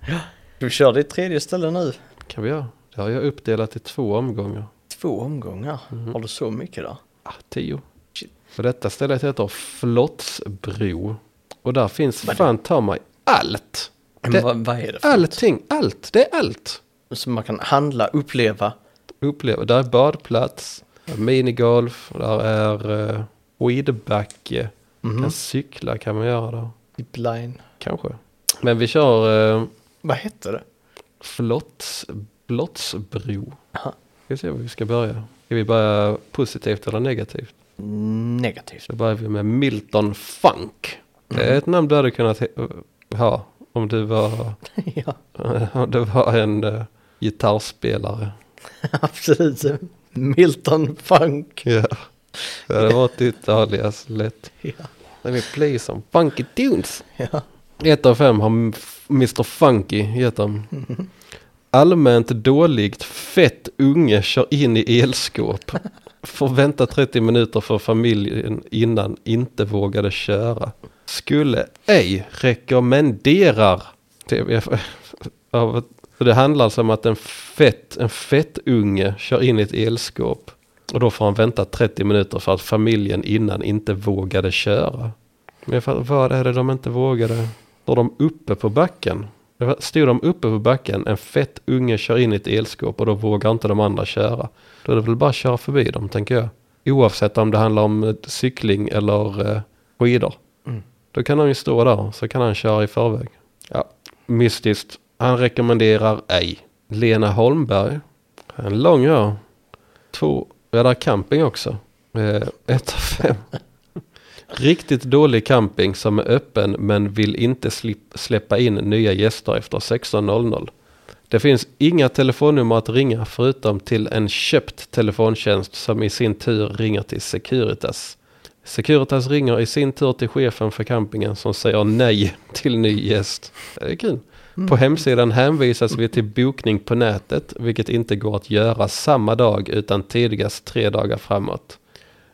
[SPEAKER 2] Ja. Ska vi köra ditt tredje ställe nu?
[SPEAKER 1] kan vi göra. Det har jag uppdelat i två omgångar.
[SPEAKER 2] Två omgångar. Har du så mycket då?
[SPEAKER 1] Ah, tio.
[SPEAKER 2] Shit.
[SPEAKER 1] Och detta stället heter Flottsbro. Och där finns fan ta mig allt.
[SPEAKER 2] Men
[SPEAKER 1] Det-
[SPEAKER 2] vad, vad är det för
[SPEAKER 1] Allting, allt, det är allt.
[SPEAKER 2] Som man kan handla, uppleva.
[SPEAKER 1] uppleva. Där är badplats, där är minigolf, där är uh, weedbacke. Kan cykla kan man göra där.
[SPEAKER 2] Zipline.
[SPEAKER 1] Kanske. Men vi kör uh,
[SPEAKER 2] Vad hette det?
[SPEAKER 1] flotts, flottsbro.
[SPEAKER 2] Aha.
[SPEAKER 1] Ska vi se var vi ska börja. Ska vi börja positivt eller negativt?
[SPEAKER 2] Negativt.
[SPEAKER 1] Då börjar vi med Milton Funk. Det är ett namn du hade kunnat he- ha om du var,
[SPEAKER 2] ja,
[SPEAKER 1] om du var en eh, gitarrspelare.
[SPEAKER 2] absolut. Milton Funk.
[SPEAKER 1] Ja, det hade varit ditt alias lätt.
[SPEAKER 2] Ja.
[SPEAKER 1] Let me play some funky tunes.
[SPEAKER 2] Ja.
[SPEAKER 1] Ett av fem har Mr Funky gett dem. Allmänt dåligt, fett unge kör in i elskåp. Får vänta 30 minuter för familjen innan inte vågade köra. Skulle ej rekommenderar. Det, av, så det handlar alltså om att en fett, en fett unge kör in i ett elskåp. Och då får han vänta 30 minuter för att familjen innan inte vågade köra. Men fa- vad är det de inte vågade? Står de uppe på backen? Stod de uppe på backen, en fett unge kör in i ett elskåp och då vågar inte de andra köra. Då är det väl bara att köra förbi dem, tänker jag. Oavsett om det handlar om eh, cykling eller eh, skidor. Då kan han ju stå där, så kan han köra i förväg. Ja, mystiskt. Han rekommenderar ej. Lena Holmberg. En lång ja. Två, ja där är camping också. Eh, ett av fem. Riktigt dålig camping som är öppen men vill inte slip- släppa in nya gäster efter 16.00. Det finns inga telefonnummer att ringa förutom till en köpt telefontjänst som i sin tur ringer till Securitas. Securitas ringer i sin tur till chefen för campingen som säger nej till ny gäst. Det är kul. På hemsidan hänvisas vi till bokning på nätet, vilket inte går att göra samma dag utan tidigast tre dagar framåt.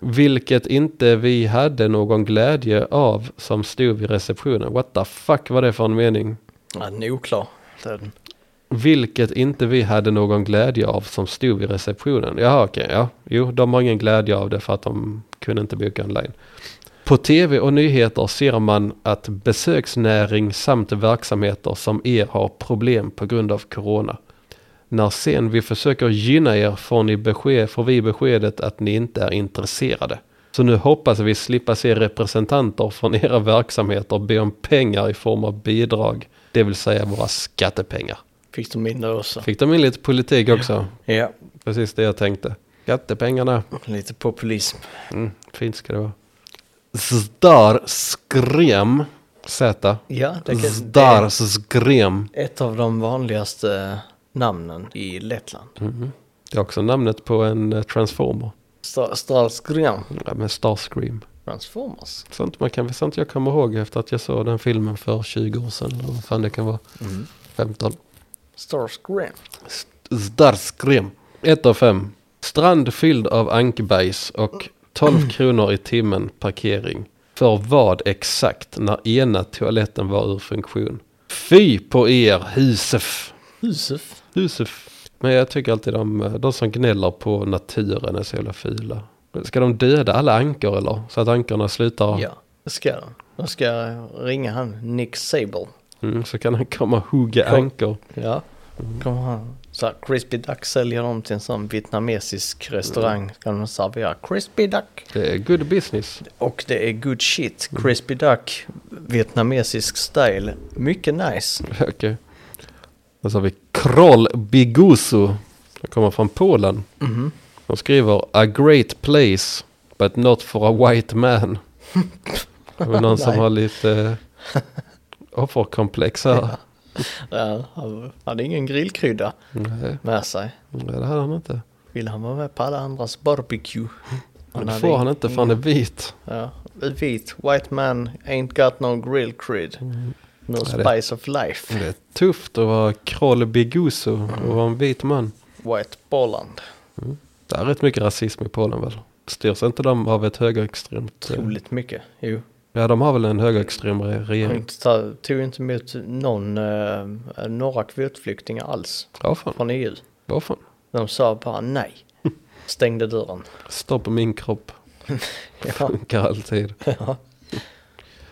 [SPEAKER 1] Vilket inte vi hade någon glädje av som stod vid receptionen. What the fuck var det för en mening?
[SPEAKER 2] Ja, den är oklar. Den.
[SPEAKER 1] Vilket inte vi hade någon glädje av som stod vid receptionen. Jaha, okej, ja. Jo, de har ingen glädje av det för att de kunde inte boka online. På tv och nyheter ser man att besöksnäring samt verksamheter som er har problem på grund av corona. När sen vi försöker gynna er får, ni besked, får vi beskedet att ni inte är intresserade. Så nu hoppas vi slippa se representanter från era verksamheter be om pengar i form av bidrag, det vill säga våra skattepengar.
[SPEAKER 2] Fick de in det också.
[SPEAKER 1] Fick de in lite politik också?
[SPEAKER 2] Ja,
[SPEAKER 1] Precis det jag tänkte. Skattepengarna.
[SPEAKER 2] lite populism.
[SPEAKER 1] Mm, fint ska det vara. Zdar skrem. Z.
[SPEAKER 2] Ja, det, kan, det
[SPEAKER 1] Zdar
[SPEAKER 2] är
[SPEAKER 1] skrem.
[SPEAKER 2] ett av de vanligaste eh, namnen i Lettland.
[SPEAKER 1] Mhm. Det är också namnet på en eh, transformer.
[SPEAKER 2] Stra- Stralsgren
[SPEAKER 1] Ja, men Starscream.
[SPEAKER 2] Transformers.
[SPEAKER 1] Sånt, man kan, sånt jag kommer ihåg efter att jag såg den filmen för 20 år sedan. Eller vad fan det kan vara. 15.
[SPEAKER 2] Starscream.
[SPEAKER 1] Zdarskrem. 1 av 5. Strand fylld av ankbajs och 12 kronor i timmen parkering. För vad exakt när ena toaletten var ur funktion? Fy på er Husef!
[SPEAKER 2] Husef.
[SPEAKER 1] Husef. Men jag tycker alltid de, de som gnäller på naturen är så jävla fula. Ska de döda alla ankor eller? Så att ankorna slutar?
[SPEAKER 2] Ja, det ska de. De ska ringa han Nick Sable.
[SPEAKER 1] Mm, så kan han komma och hugga
[SPEAKER 2] Ja.
[SPEAKER 1] ankor.
[SPEAKER 2] Ja, kommer han. Så här, Crispy Duck säljer dem till en sån vietnamesisk restaurang. Ska de servera Crispy Duck.
[SPEAKER 1] Det är good business.
[SPEAKER 2] Och det är good shit. Crispy Duck, vietnamesisk style. Mycket nice.
[SPEAKER 1] Okej. Och så har vi Kroll Bigusu. som kommer från Polen.
[SPEAKER 2] Mm-hmm.
[SPEAKER 1] De skriver A great place but not for a white man. Det var någon som
[SPEAKER 2] Nej.
[SPEAKER 1] har lite eh, offerkomplex här.
[SPEAKER 2] Ja, han hade ingen grillkrydda
[SPEAKER 1] Nej,
[SPEAKER 2] med sig.
[SPEAKER 1] det hade han inte.
[SPEAKER 2] Vill han vara med på alla andras barbecue?
[SPEAKER 1] Men det
[SPEAKER 2] hade
[SPEAKER 1] får han inte för han är vit.
[SPEAKER 2] Ja, vit. White man ain't got no grill cred. No
[SPEAKER 1] det-
[SPEAKER 2] spice of life.
[SPEAKER 1] Det är tufft att vara Kroll Bigusu och vara en vit man.
[SPEAKER 2] White Poland.
[SPEAKER 1] Det är rätt mycket rasism i Polen väl? Styrs inte de av ett högerextremt... eh,
[SPEAKER 2] Otroligt mycket. Jo.
[SPEAKER 1] Ja, de har väl en högerextrem re- regering.
[SPEAKER 2] Han ta- tog inte emot någon, eh, några kvotflyktingar alls
[SPEAKER 1] Ja, fan.
[SPEAKER 2] från EU.
[SPEAKER 1] Vad fan?
[SPEAKER 2] De sa bara nej. Stängde dörren.
[SPEAKER 1] Stopp min kropp.
[SPEAKER 2] Ja,
[SPEAKER 1] Funkar alltid.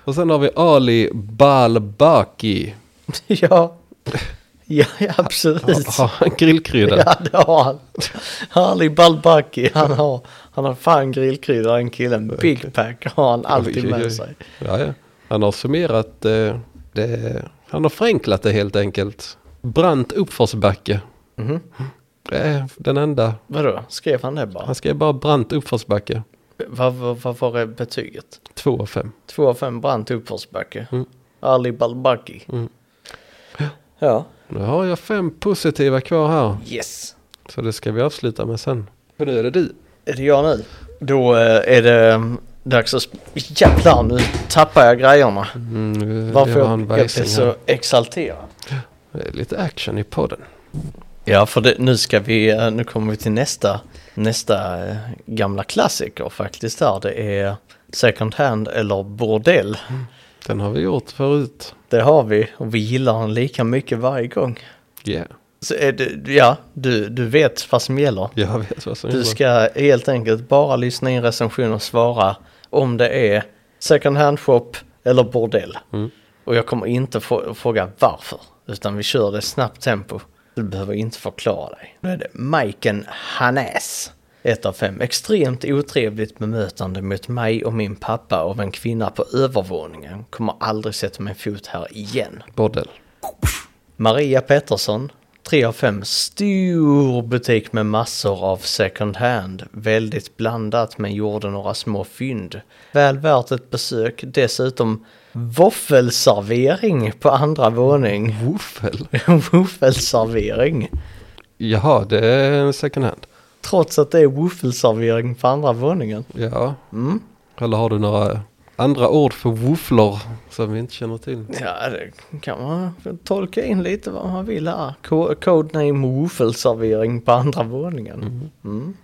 [SPEAKER 1] Och sen har vi Ali Balbaki.
[SPEAKER 2] ja. ja ja, absolut.
[SPEAKER 1] Har han grillkrydda?
[SPEAKER 2] Ja, det har han. Ali Balbaki, han har, han har fan grillkrydda den killen. Big pack har han alltid
[SPEAKER 1] Oj, oj, oj.
[SPEAKER 2] med sig.
[SPEAKER 1] Ja, ja. Han har summerat eh, det. Han har förenklat det helt enkelt. Brant uppförsbacke.
[SPEAKER 2] Mhm.
[SPEAKER 1] Det är den enda.
[SPEAKER 2] Vadå, skrev han det bara?
[SPEAKER 1] Han skrev bara brant uppförsbacke.
[SPEAKER 2] Vad, vad, vad var det betyget?
[SPEAKER 1] Två av fem.
[SPEAKER 2] Två av fem brant uppförsbacke.
[SPEAKER 1] Mm.
[SPEAKER 2] Ali Balbaki.
[SPEAKER 1] Mm.
[SPEAKER 2] Ja.
[SPEAKER 1] Nu har jag fem positiva kvar här.
[SPEAKER 2] Yes.
[SPEAKER 1] Så det ska vi avsluta med sen. Och nu är det du.
[SPEAKER 2] Är det jag nu? Då eh, är det eh, dags att... sp- Jävlar, nu tappar jag grejerna.
[SPEAKER 1] Mm,
[SPEAKER 2] Varför
[SPEAKER 1] det var
[SPEAKER 2] jag,
[SPEAKER 1] en
[SPEAKER 2] jag blev
[SPEAKER 1] vajsing
[SPEAKER 2] så
[SPEAKER 1] här.
[SPEAKER 2] exalterad.
[SPEAKER 1] Det är lite action i podden.
[SPEAKER 2] Ja, för det, nu ska vi, eh, nu kommer vi till nästa, nästa eh, gamla klassiker faktiskt här. Det är second hand eller bordell.
[SPEAKER 1] Den har vi gjort förut.
[SPEAKER 2] Det har vi och vi gillar den lika mycket varje gång.
[SPEAKER 1] Yeah.
[SPEAKER 2] Så är det, ja, du, du vet vad som gäller.
[SPEAKER 1] Jag vet vad som
[SPEAKER 2] Du
[SPEAKER 1] gäller.
[SPEAKER 2] ska helt enkelt bara lyssna in recension och svara om det är second hand shop eller bordell.
[SPEAKER 1] Mm.
[SPEAKER 2] Och jag kommer inte få, fråga varför, utan vi kör det i snabbt tempo. Du behöver inte förklara dig. Nu är det Majken Hanäs. Ett av fem. Extremt otrevligt bemötande mot mig och min pappa av en kvinna på övervåningen. Kommer aldrig sätta min fot här igen.
[SPEAKER 1] Bordell.
[SPEAKER 2] Maria Pettersson, 3 av 5, stor butik med massor av second hand. Väldigt blandat men gjorde några små fynd. Väl värt ett besök, dessutom våffelservering på andra våning.
[SPEAKER 1] Woofel.
[SPEAKER 2] Våffelservering.
[SPEAKER 1] Jaha, det är en second hand.
[SPEAKER 2] Trots att det är våffelservering på andra våningen.
[SPEAKER 1] Ja. Eller har du några Andra ord för wooflor som vi inte känner till.
[SPEAKER 2] Ja, det kan man tolka in lite vad man vill här. Co- Codename Woofelservering på andra våningen. Mm.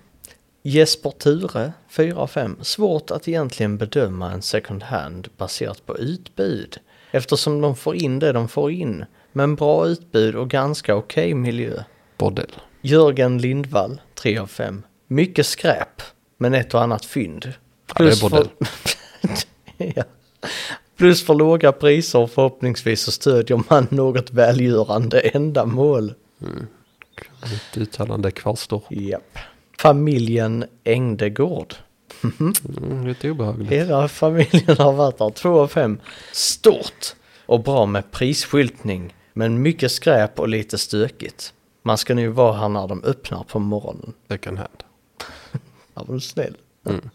[SPEAKER 2] Jesper Ture, 4 av 5. Svårt att egentligen bedöma en second hand baserat på utbud. Eftersom de får in det de får in. Men bra utbud och ganska okej miljö.
[SPEAKER 1] Bordell.
[SPEAKER 2] Jörgen Lindvall, 3 av 5. Mycket skräp, men ett och annat fynd.
[SPEAKER 1] det är bordell.
[SPEAKER 2] ja. Plus för låga priser och förhoppningsvis så stödjer man något välgörande ändamål.
[SPEAKER 1] Mitt uttalande kvarstår.
[SPEAKER 2] Japp. Familjen Engdegård.
[SPEAKER 1] Mm, lite obehagligt.
[SPEAKER 2] Hela familjen har varit där, 2 av 5. Stort och bra med prisskyltning, men mycket skräp och lite stökigt. Man ska nu vara här när de öppnar på morgonen.
[SPEAKER 1] Second hand.
[SPEAKER 2] Ja, var du snäll.
[SPEAKER 1] Mm.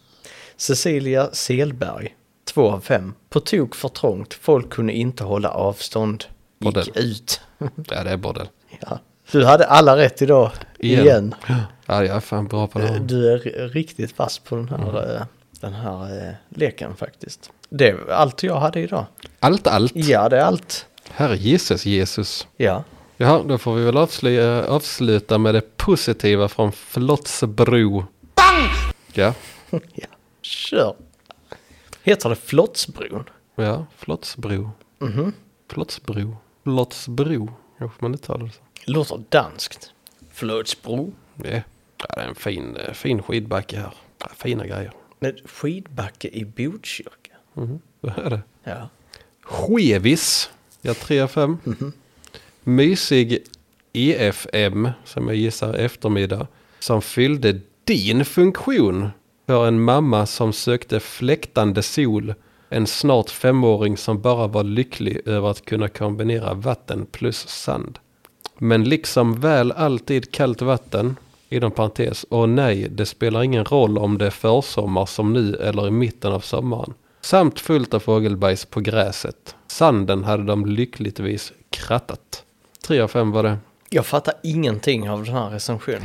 [SPEAKER 2] Cecilia Selberg, 2 av 5. På tok för trångt, folk kunde inte hålla avstånd. Gick
[SPEAKER 1] Bordell.
[SPEAKER 2] ut.
[SPEAKER 1] Ja, det är bordell.
[SPEAKER 2] ja. Du hade alla rätt idag, igen. Eh,
[SPEAKER 1] Ja, jag är fan bra Mm. på det här.
[SPEAKER 2] Du är riktigt fast på den här, eh, den här eh, leken faktiskt. Det är allt jag hade idag.
[SPEAKER 1] Allt, allt.
[SPEAKER 2] Ja, det är allt.
[SPEAKER 1] Herre Jesus, Jesus.
[SPEAKER 2] Ja,
[SPEAKER 1] Jaha, då får vi väl avsluta, avsluta med det positiva från Flottsbro. Bang! Ja,
[SPEAKER 2] ja. kör. Heter det Flottsbron?
[SPEAKER 1] ja, Flottsbro. mm Flottsbro. Flottsbro, kanske man uttalar det så.
[SPEAKER 2] Låter danskt. Flottsbro?
[SPEAKER 1] Ja, Ja, det är en fin, eh, fin skidbacke här. Ja, Fina grejer.
[SPEAKER 2] Med skidbacke i Botkyrka?
[SPEAKER 1] Mhm. Vad är det?
[SPEAKER 2] Ja.
[SPEAKER 1] Skevis. Ja, 3 av 5. Mysig EFM, som jag gissar är eftermiddag, som fyllde din funktion för en mamma som sökte fläktande sol. En snart femåring som bara var lycklig över att kunna kombinera vatten plus sand. Men liksom väl alltid kallt vatten, inom parentes, och nej, det spelar ingen roll om det är försommar som nu eller i mitten av sommaren. Samt fullt av fågelbajs på gräset. Sanden hade de lyckligtvis krattat. Tre av fem var det.
[SPEAKER 2] Jag fattar ingenting av den här recensionen.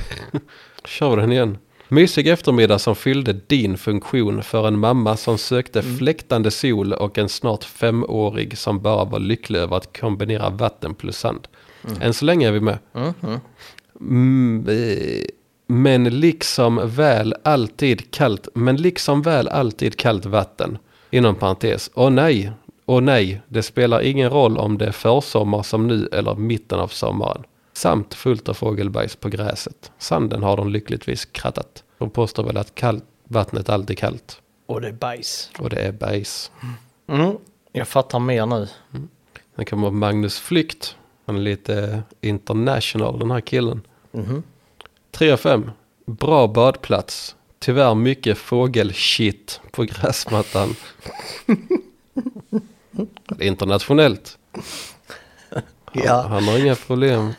[SPEAKER 1] Kör vi den igen. Mysig eftermiddag som fyllde din funktion för en mamma som sökte fläktande sol och en snart femårig som bara var lycklig över att kombinera vatten plus sand. Än så länge är vi med. Mm, eh, men liksom väl alltid kallt, men liksom väl alltid kallt vatten. Inom parentes, åh nej, åh nej, det spelar ingen roll om det är försommar som nu eller mitten av sommaren. Samt fullt av fågelbajs på gräset. Sanden har de lyckligtvis krattat. De påstår väl att kallt, vattnet alltid är kallt.
[SPEAKER 2] Och det är bajs.
[SPEAKER 1] Och det är bajs.
[SPEAKER 2] Mm. Jag fattar mer nu.
[SPEAKER 1] Sen kommer Magnus Flykt. Han är lite international den här killen.
[SPEAKER 2] Mhm.
[SPEAKER 1] 3 av 5. Bra badplats. Tyvärr mycket fågelshit på gräsmattan. Det är Internationellt.
[SPEAKER 2] Ja,
[SPEAKER 1] Han har inga problem.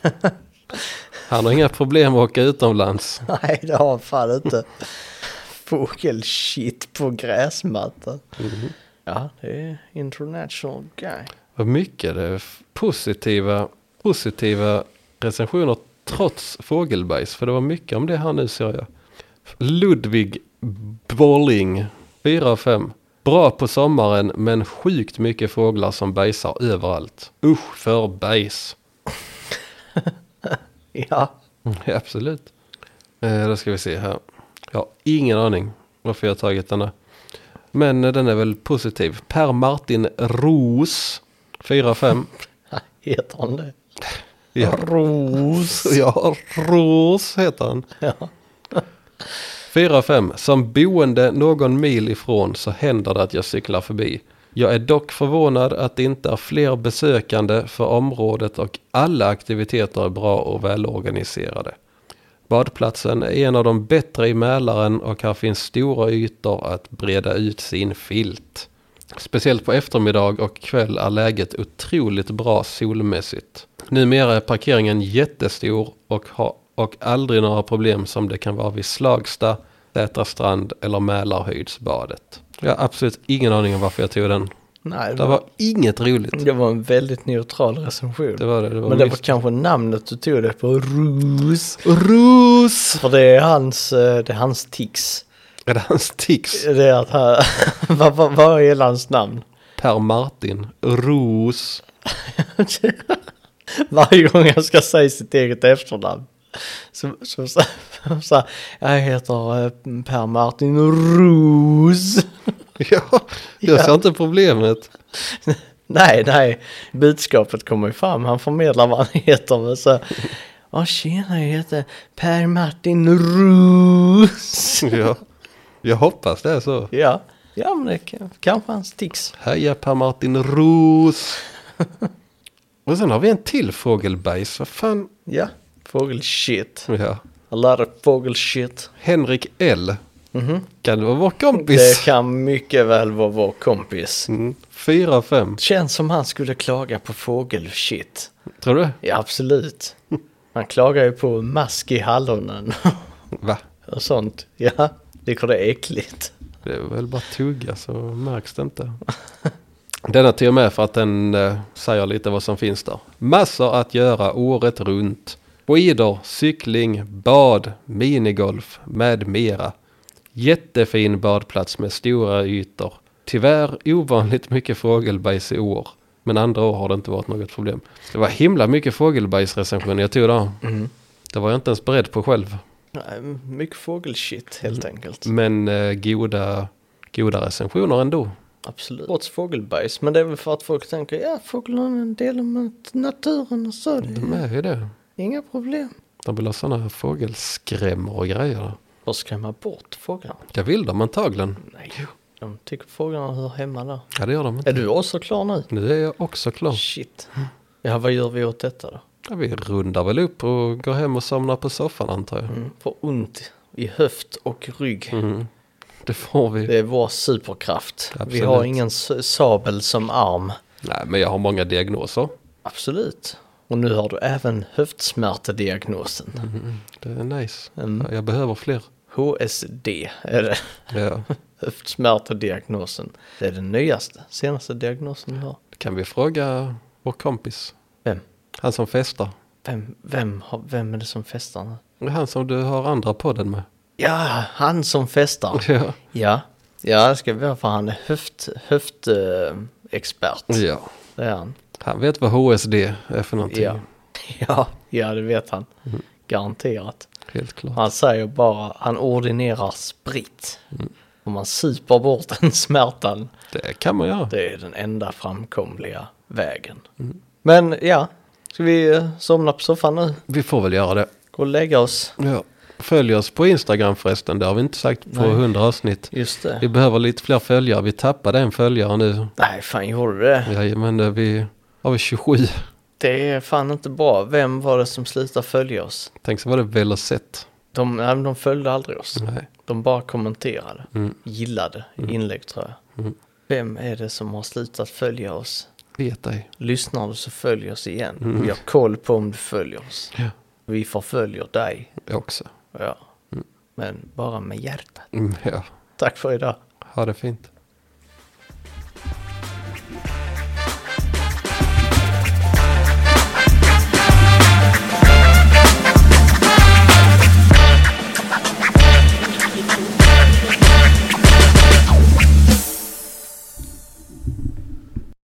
[SPEAKER 1] Han har inga problem att åka utomlands.
[SPEAKER 2] nej det har han fan inte. Fågelshit på gräsmattan. Ja, det är international guy.
[SPEAKER 1] Vad mycket det är positiva, positiva recensioner trots fågelbajs. För det var mycket om det här nu ser jag. Ludvig Bolling, 4 av 5. Bra på sommaren men sjukt mycket fåglar som bajsar överallt. Usch för bajs.
[SPEAKER 2] Ja,
[SPEAKER 1] Mm, Ja, Absolut. Eh, då ska vi se här. Jag har ingen aning varför jag har tagit denna. Men eh, den är väl positiv. Per Martin Ros, 4 av 5.
[SPEAKER 2] heter han det?
[SPEAKER 1] Ja. Ros. Ja, Ros heter han.
[SPEAKER 2] Ja.
[SPEAKER 1] 4 5. Som boende någon mil ifrån så händer det att jag cyklar förbi. Jag är dock förvånad att det inte är fler besökande för området och alla aktiviteter är bra och välorganiserade. Badplatsen är en av de bättre i Mälaren och här finns stora ytor att breda ut sin filt. Speciellt på eftermiddag och kväll är läget otroligt bra solmässigt. Numera är parkeringen jättestor och har och aldrig några problem som det kan vara vid Slagsta, Sätra strand eller Mälarhöjdsbadet. Jag har absolut ingen aning om varför jag tog den.
[SPEAKER 2] Nej, det
[SPEAKER 1] Det
[SPEAKER 2] var,
[SPEAKER 1] var inget roligt.
[SPEAKER 2] det var en väldigt neutral recension.
[SPEAKER 1] Det var det. det var
[SPEAKER 2] Men det var
[SPEAKER 1] mist-
[SPEAKER 2] kanske namnet du tog det på, Rus.
[SPEAKER 1] Ros!
[SPEAKER 2] För det är hans, eh, det är hans tics.
[SPEAKER 1] Är det hans tics?
[SPEAKER 2] Det är att han... vad, vad, vad är hela hans namn?
[SPEAKER 1] Per Martin. Ros.
[SPEAKER 2] Varje gång jag ska säga sitt eget efternamn. Så, så, så, så, jag heter eh, Per Martin Roos.
[SPEAKER 1] Ja, jag ser
[SPEAKER 2] Ja.
[SPEAKER 1] inte problemet.
[SPEAKER 2] Nej, nej. Budskapet kommer ju fram. Han förmedlar vad han heter. Men så, Åh tjena, jag heter Per Martin Roos.
[SPEAKER 1] Ja. Jag hoppas det är så.
[SPEAKER 2] Ja, ja men det kan- kanske han sticks.
[SPEAKER 1] Heja Per Martin Ros. Och sen har vi en till fågelbajs. Vad fan?
[SPEAKER 2] Ja, fågelshit.
[SPEAKER 1] Ja.
[SPEAKER 2] A lot of fågelshit.
[SPEAKER 1] Henrik L. Kan Mhm. det vara vår
[SPEAKER 2] Det
[SPEAKER 1] kompis?
[SPEAKER 2] kan mycket väl vara vår kompis.
[SPEAKER 1] Mm. Fyra, fem.
[SPEAKER 2] Känns som han skulle klaga på fågelshit.
[SPEAKER 1] Tror du?
[SPEAKER 2] Ja, absolut. Han klagar ju på mask i hallonen
[SPEAKER 1] Va?
[SPEAKER 2] och sånt. Ja, tycker det är äckligt.
[SPEAKER 1] Det är väl bara tugga så märks det inte. Denna till och med för att den eh, säger lite vad som finns där. Massor att göra året runt. Skidor, cykling, bad, minigolf med mera. Jättefin badplats med stora ytor. Tyvärr ovanligt mycket fågelbajs i år. Men andra år har det inte varit något problem. Det var himla mycket fågelbajsrecensioner jag tog där. Det var jag inte ens beredd på själv.
[SPEAKER 2] Nej, Mycket fågelshit helt enkelt.
[SPEAKER 1] Men eh, goda, goda recensioner ändå.
[SPEAKER 2] Absolut. Trots fågelbajs, men det är väl för att folk tänker ja, fåglarna är en del av naturen och så. Det
[SPEAKER 1] De
[SPEAKER 2] är
[SPEAKER 1] är ju det.
[SPEAKER 2] inga problem.
[SPEAKER 1] De vill ha sådana fågelskrämmor och grejer.
[SPEAKER 2] För att skrämma bort fåglarna?
[SPEAKER 1] Det vill de antagligen.
[SPEAKER 2] Nej. De tycker fåglarna hör hemma där.
[SPEAKER 1] Ja, det gör de inte.
[SPEAKER 2] Är du också klar nu?
[SPEAKER 1] Nu är jag också klar.
[SPEAKER 2] Shit. Ja, vad gör vi åt detta då?
[SPEAKER 1] Ja, vi rundar väl upp och går hem och somnar på soffan antar jag.
[SPEAKER 2] Mm, Får ont i höft och rygg.
[SPEAKER 1] Mm. Det får vi.
[SPEAKER 2] Det är vår superkraft. Vi
[SPEAKER 1] Absolut.
[SPEAKER 2] har ingen s- sabel som arm.
[SPEAKER 1] Nej, men jag har många diagnoser.
[SPEAKER 2] Absolut. Och nu har du även höftsmärtediagnosen.
[SPEAKER 1] Det är nice.
[SPEAKER 2] Mm.
[SPEAKER 1] Ja, jag behöver fler.
[SPEAKER 2] HSD är det.
[SPEAKER 1] Ja.
[SPEAKER 2] Höftsmärtediagnosen. Det är den nyaste, senaste diagnosen du har.
[SPEAKER 1] Kan vi fråga vår kompis?
[SPEAKER 2] Vem?
[SPEAKER 1] Han som festar.
[SPEAKER 2] Vem, vem, har, vem är det som festar nu?
[SPEAKER 1] Det är Han som du har andra podden med.
[SPEAKER 2] Ja, han som festar.
[SPEAKER 1] Ja.
[SPEAKER 2] Ja, ja det ska vi ha för han är höft, höftexpert.
[SPEAKER 1] ja.
[SPEAKER 2] Det är han.
[SPEAKER 1] Han vet vad HSD är för någonting.
[SPEAKER 2] Ja. ja, Typ. ja det vet han. Garanterat.
[SPEAKER 1] Helt klart.
[SPEAKER 2] Han säger bara, han ordinerar sprit.
[SPEAKER 1] Mm.
[SPEAKER 2] Och man super bort den smärtan.
[SPEAKER 1] Det kan man göra.
[SPEAKER 2] Det är den enda framkomliga vägen.
[SPEAKER 1] Mm.
[SPEAKER 2] Men ja, ska vi eh, somna på soffan nu?
[SPEAKER 1] Vi får väl göra det.
[SPEAKER 2] Gå och lägga oss.
[SPEAKER 1] Ja. Följ oss på Instagram förresten, det har vi inte sagt på
[SPEAKER 2] Nej.
[SPEAKER 1] 100 avsnitt.
[SPEAKER 2] Just det.
[SPEAKER 1] Vi behöver lite fler följare, vi tappade en följare nu.
[SPEAKER 2] Nej, fan gjorde du det?
[SPEAKER 1] Ja, men eh, vi har vi 27.
[SPEAKER 2] Det är fan inte bra. Vem var det som slutade följa oss?
[SPEAKER 1] Tänk så var det väl och sett.
[SPEAKER 2] De, nej, men de följde aldrig oss.
[SPEAKER 1] Nej.
[SPEAKER 2] De bara kommenterade,
[SPEAKER 1] Mm.
[SPEAKER 2] gillade inlägg tror jag.
[SPEAKER 1] Mm.
[SPEAKER 2] Vem är det som har slutat följa oss?
[SPEAKER 1] Vet ej.
[SPEAKER 2] Lyssnar du så följ oss igen. Vi har koll på om du följer oss.
[SPEAKER 1] Ja.
[SPEAKER 2] Vi förföljer dig.
[SPEAKER 1] Jag också.
[SPEAKER 2] Ja. Men bara med hjärtat.
[SPEAKER 1] Mm, ja.
[SPEAKER 2] Tack för idag.
[SPEAKER 1] Ha det fint.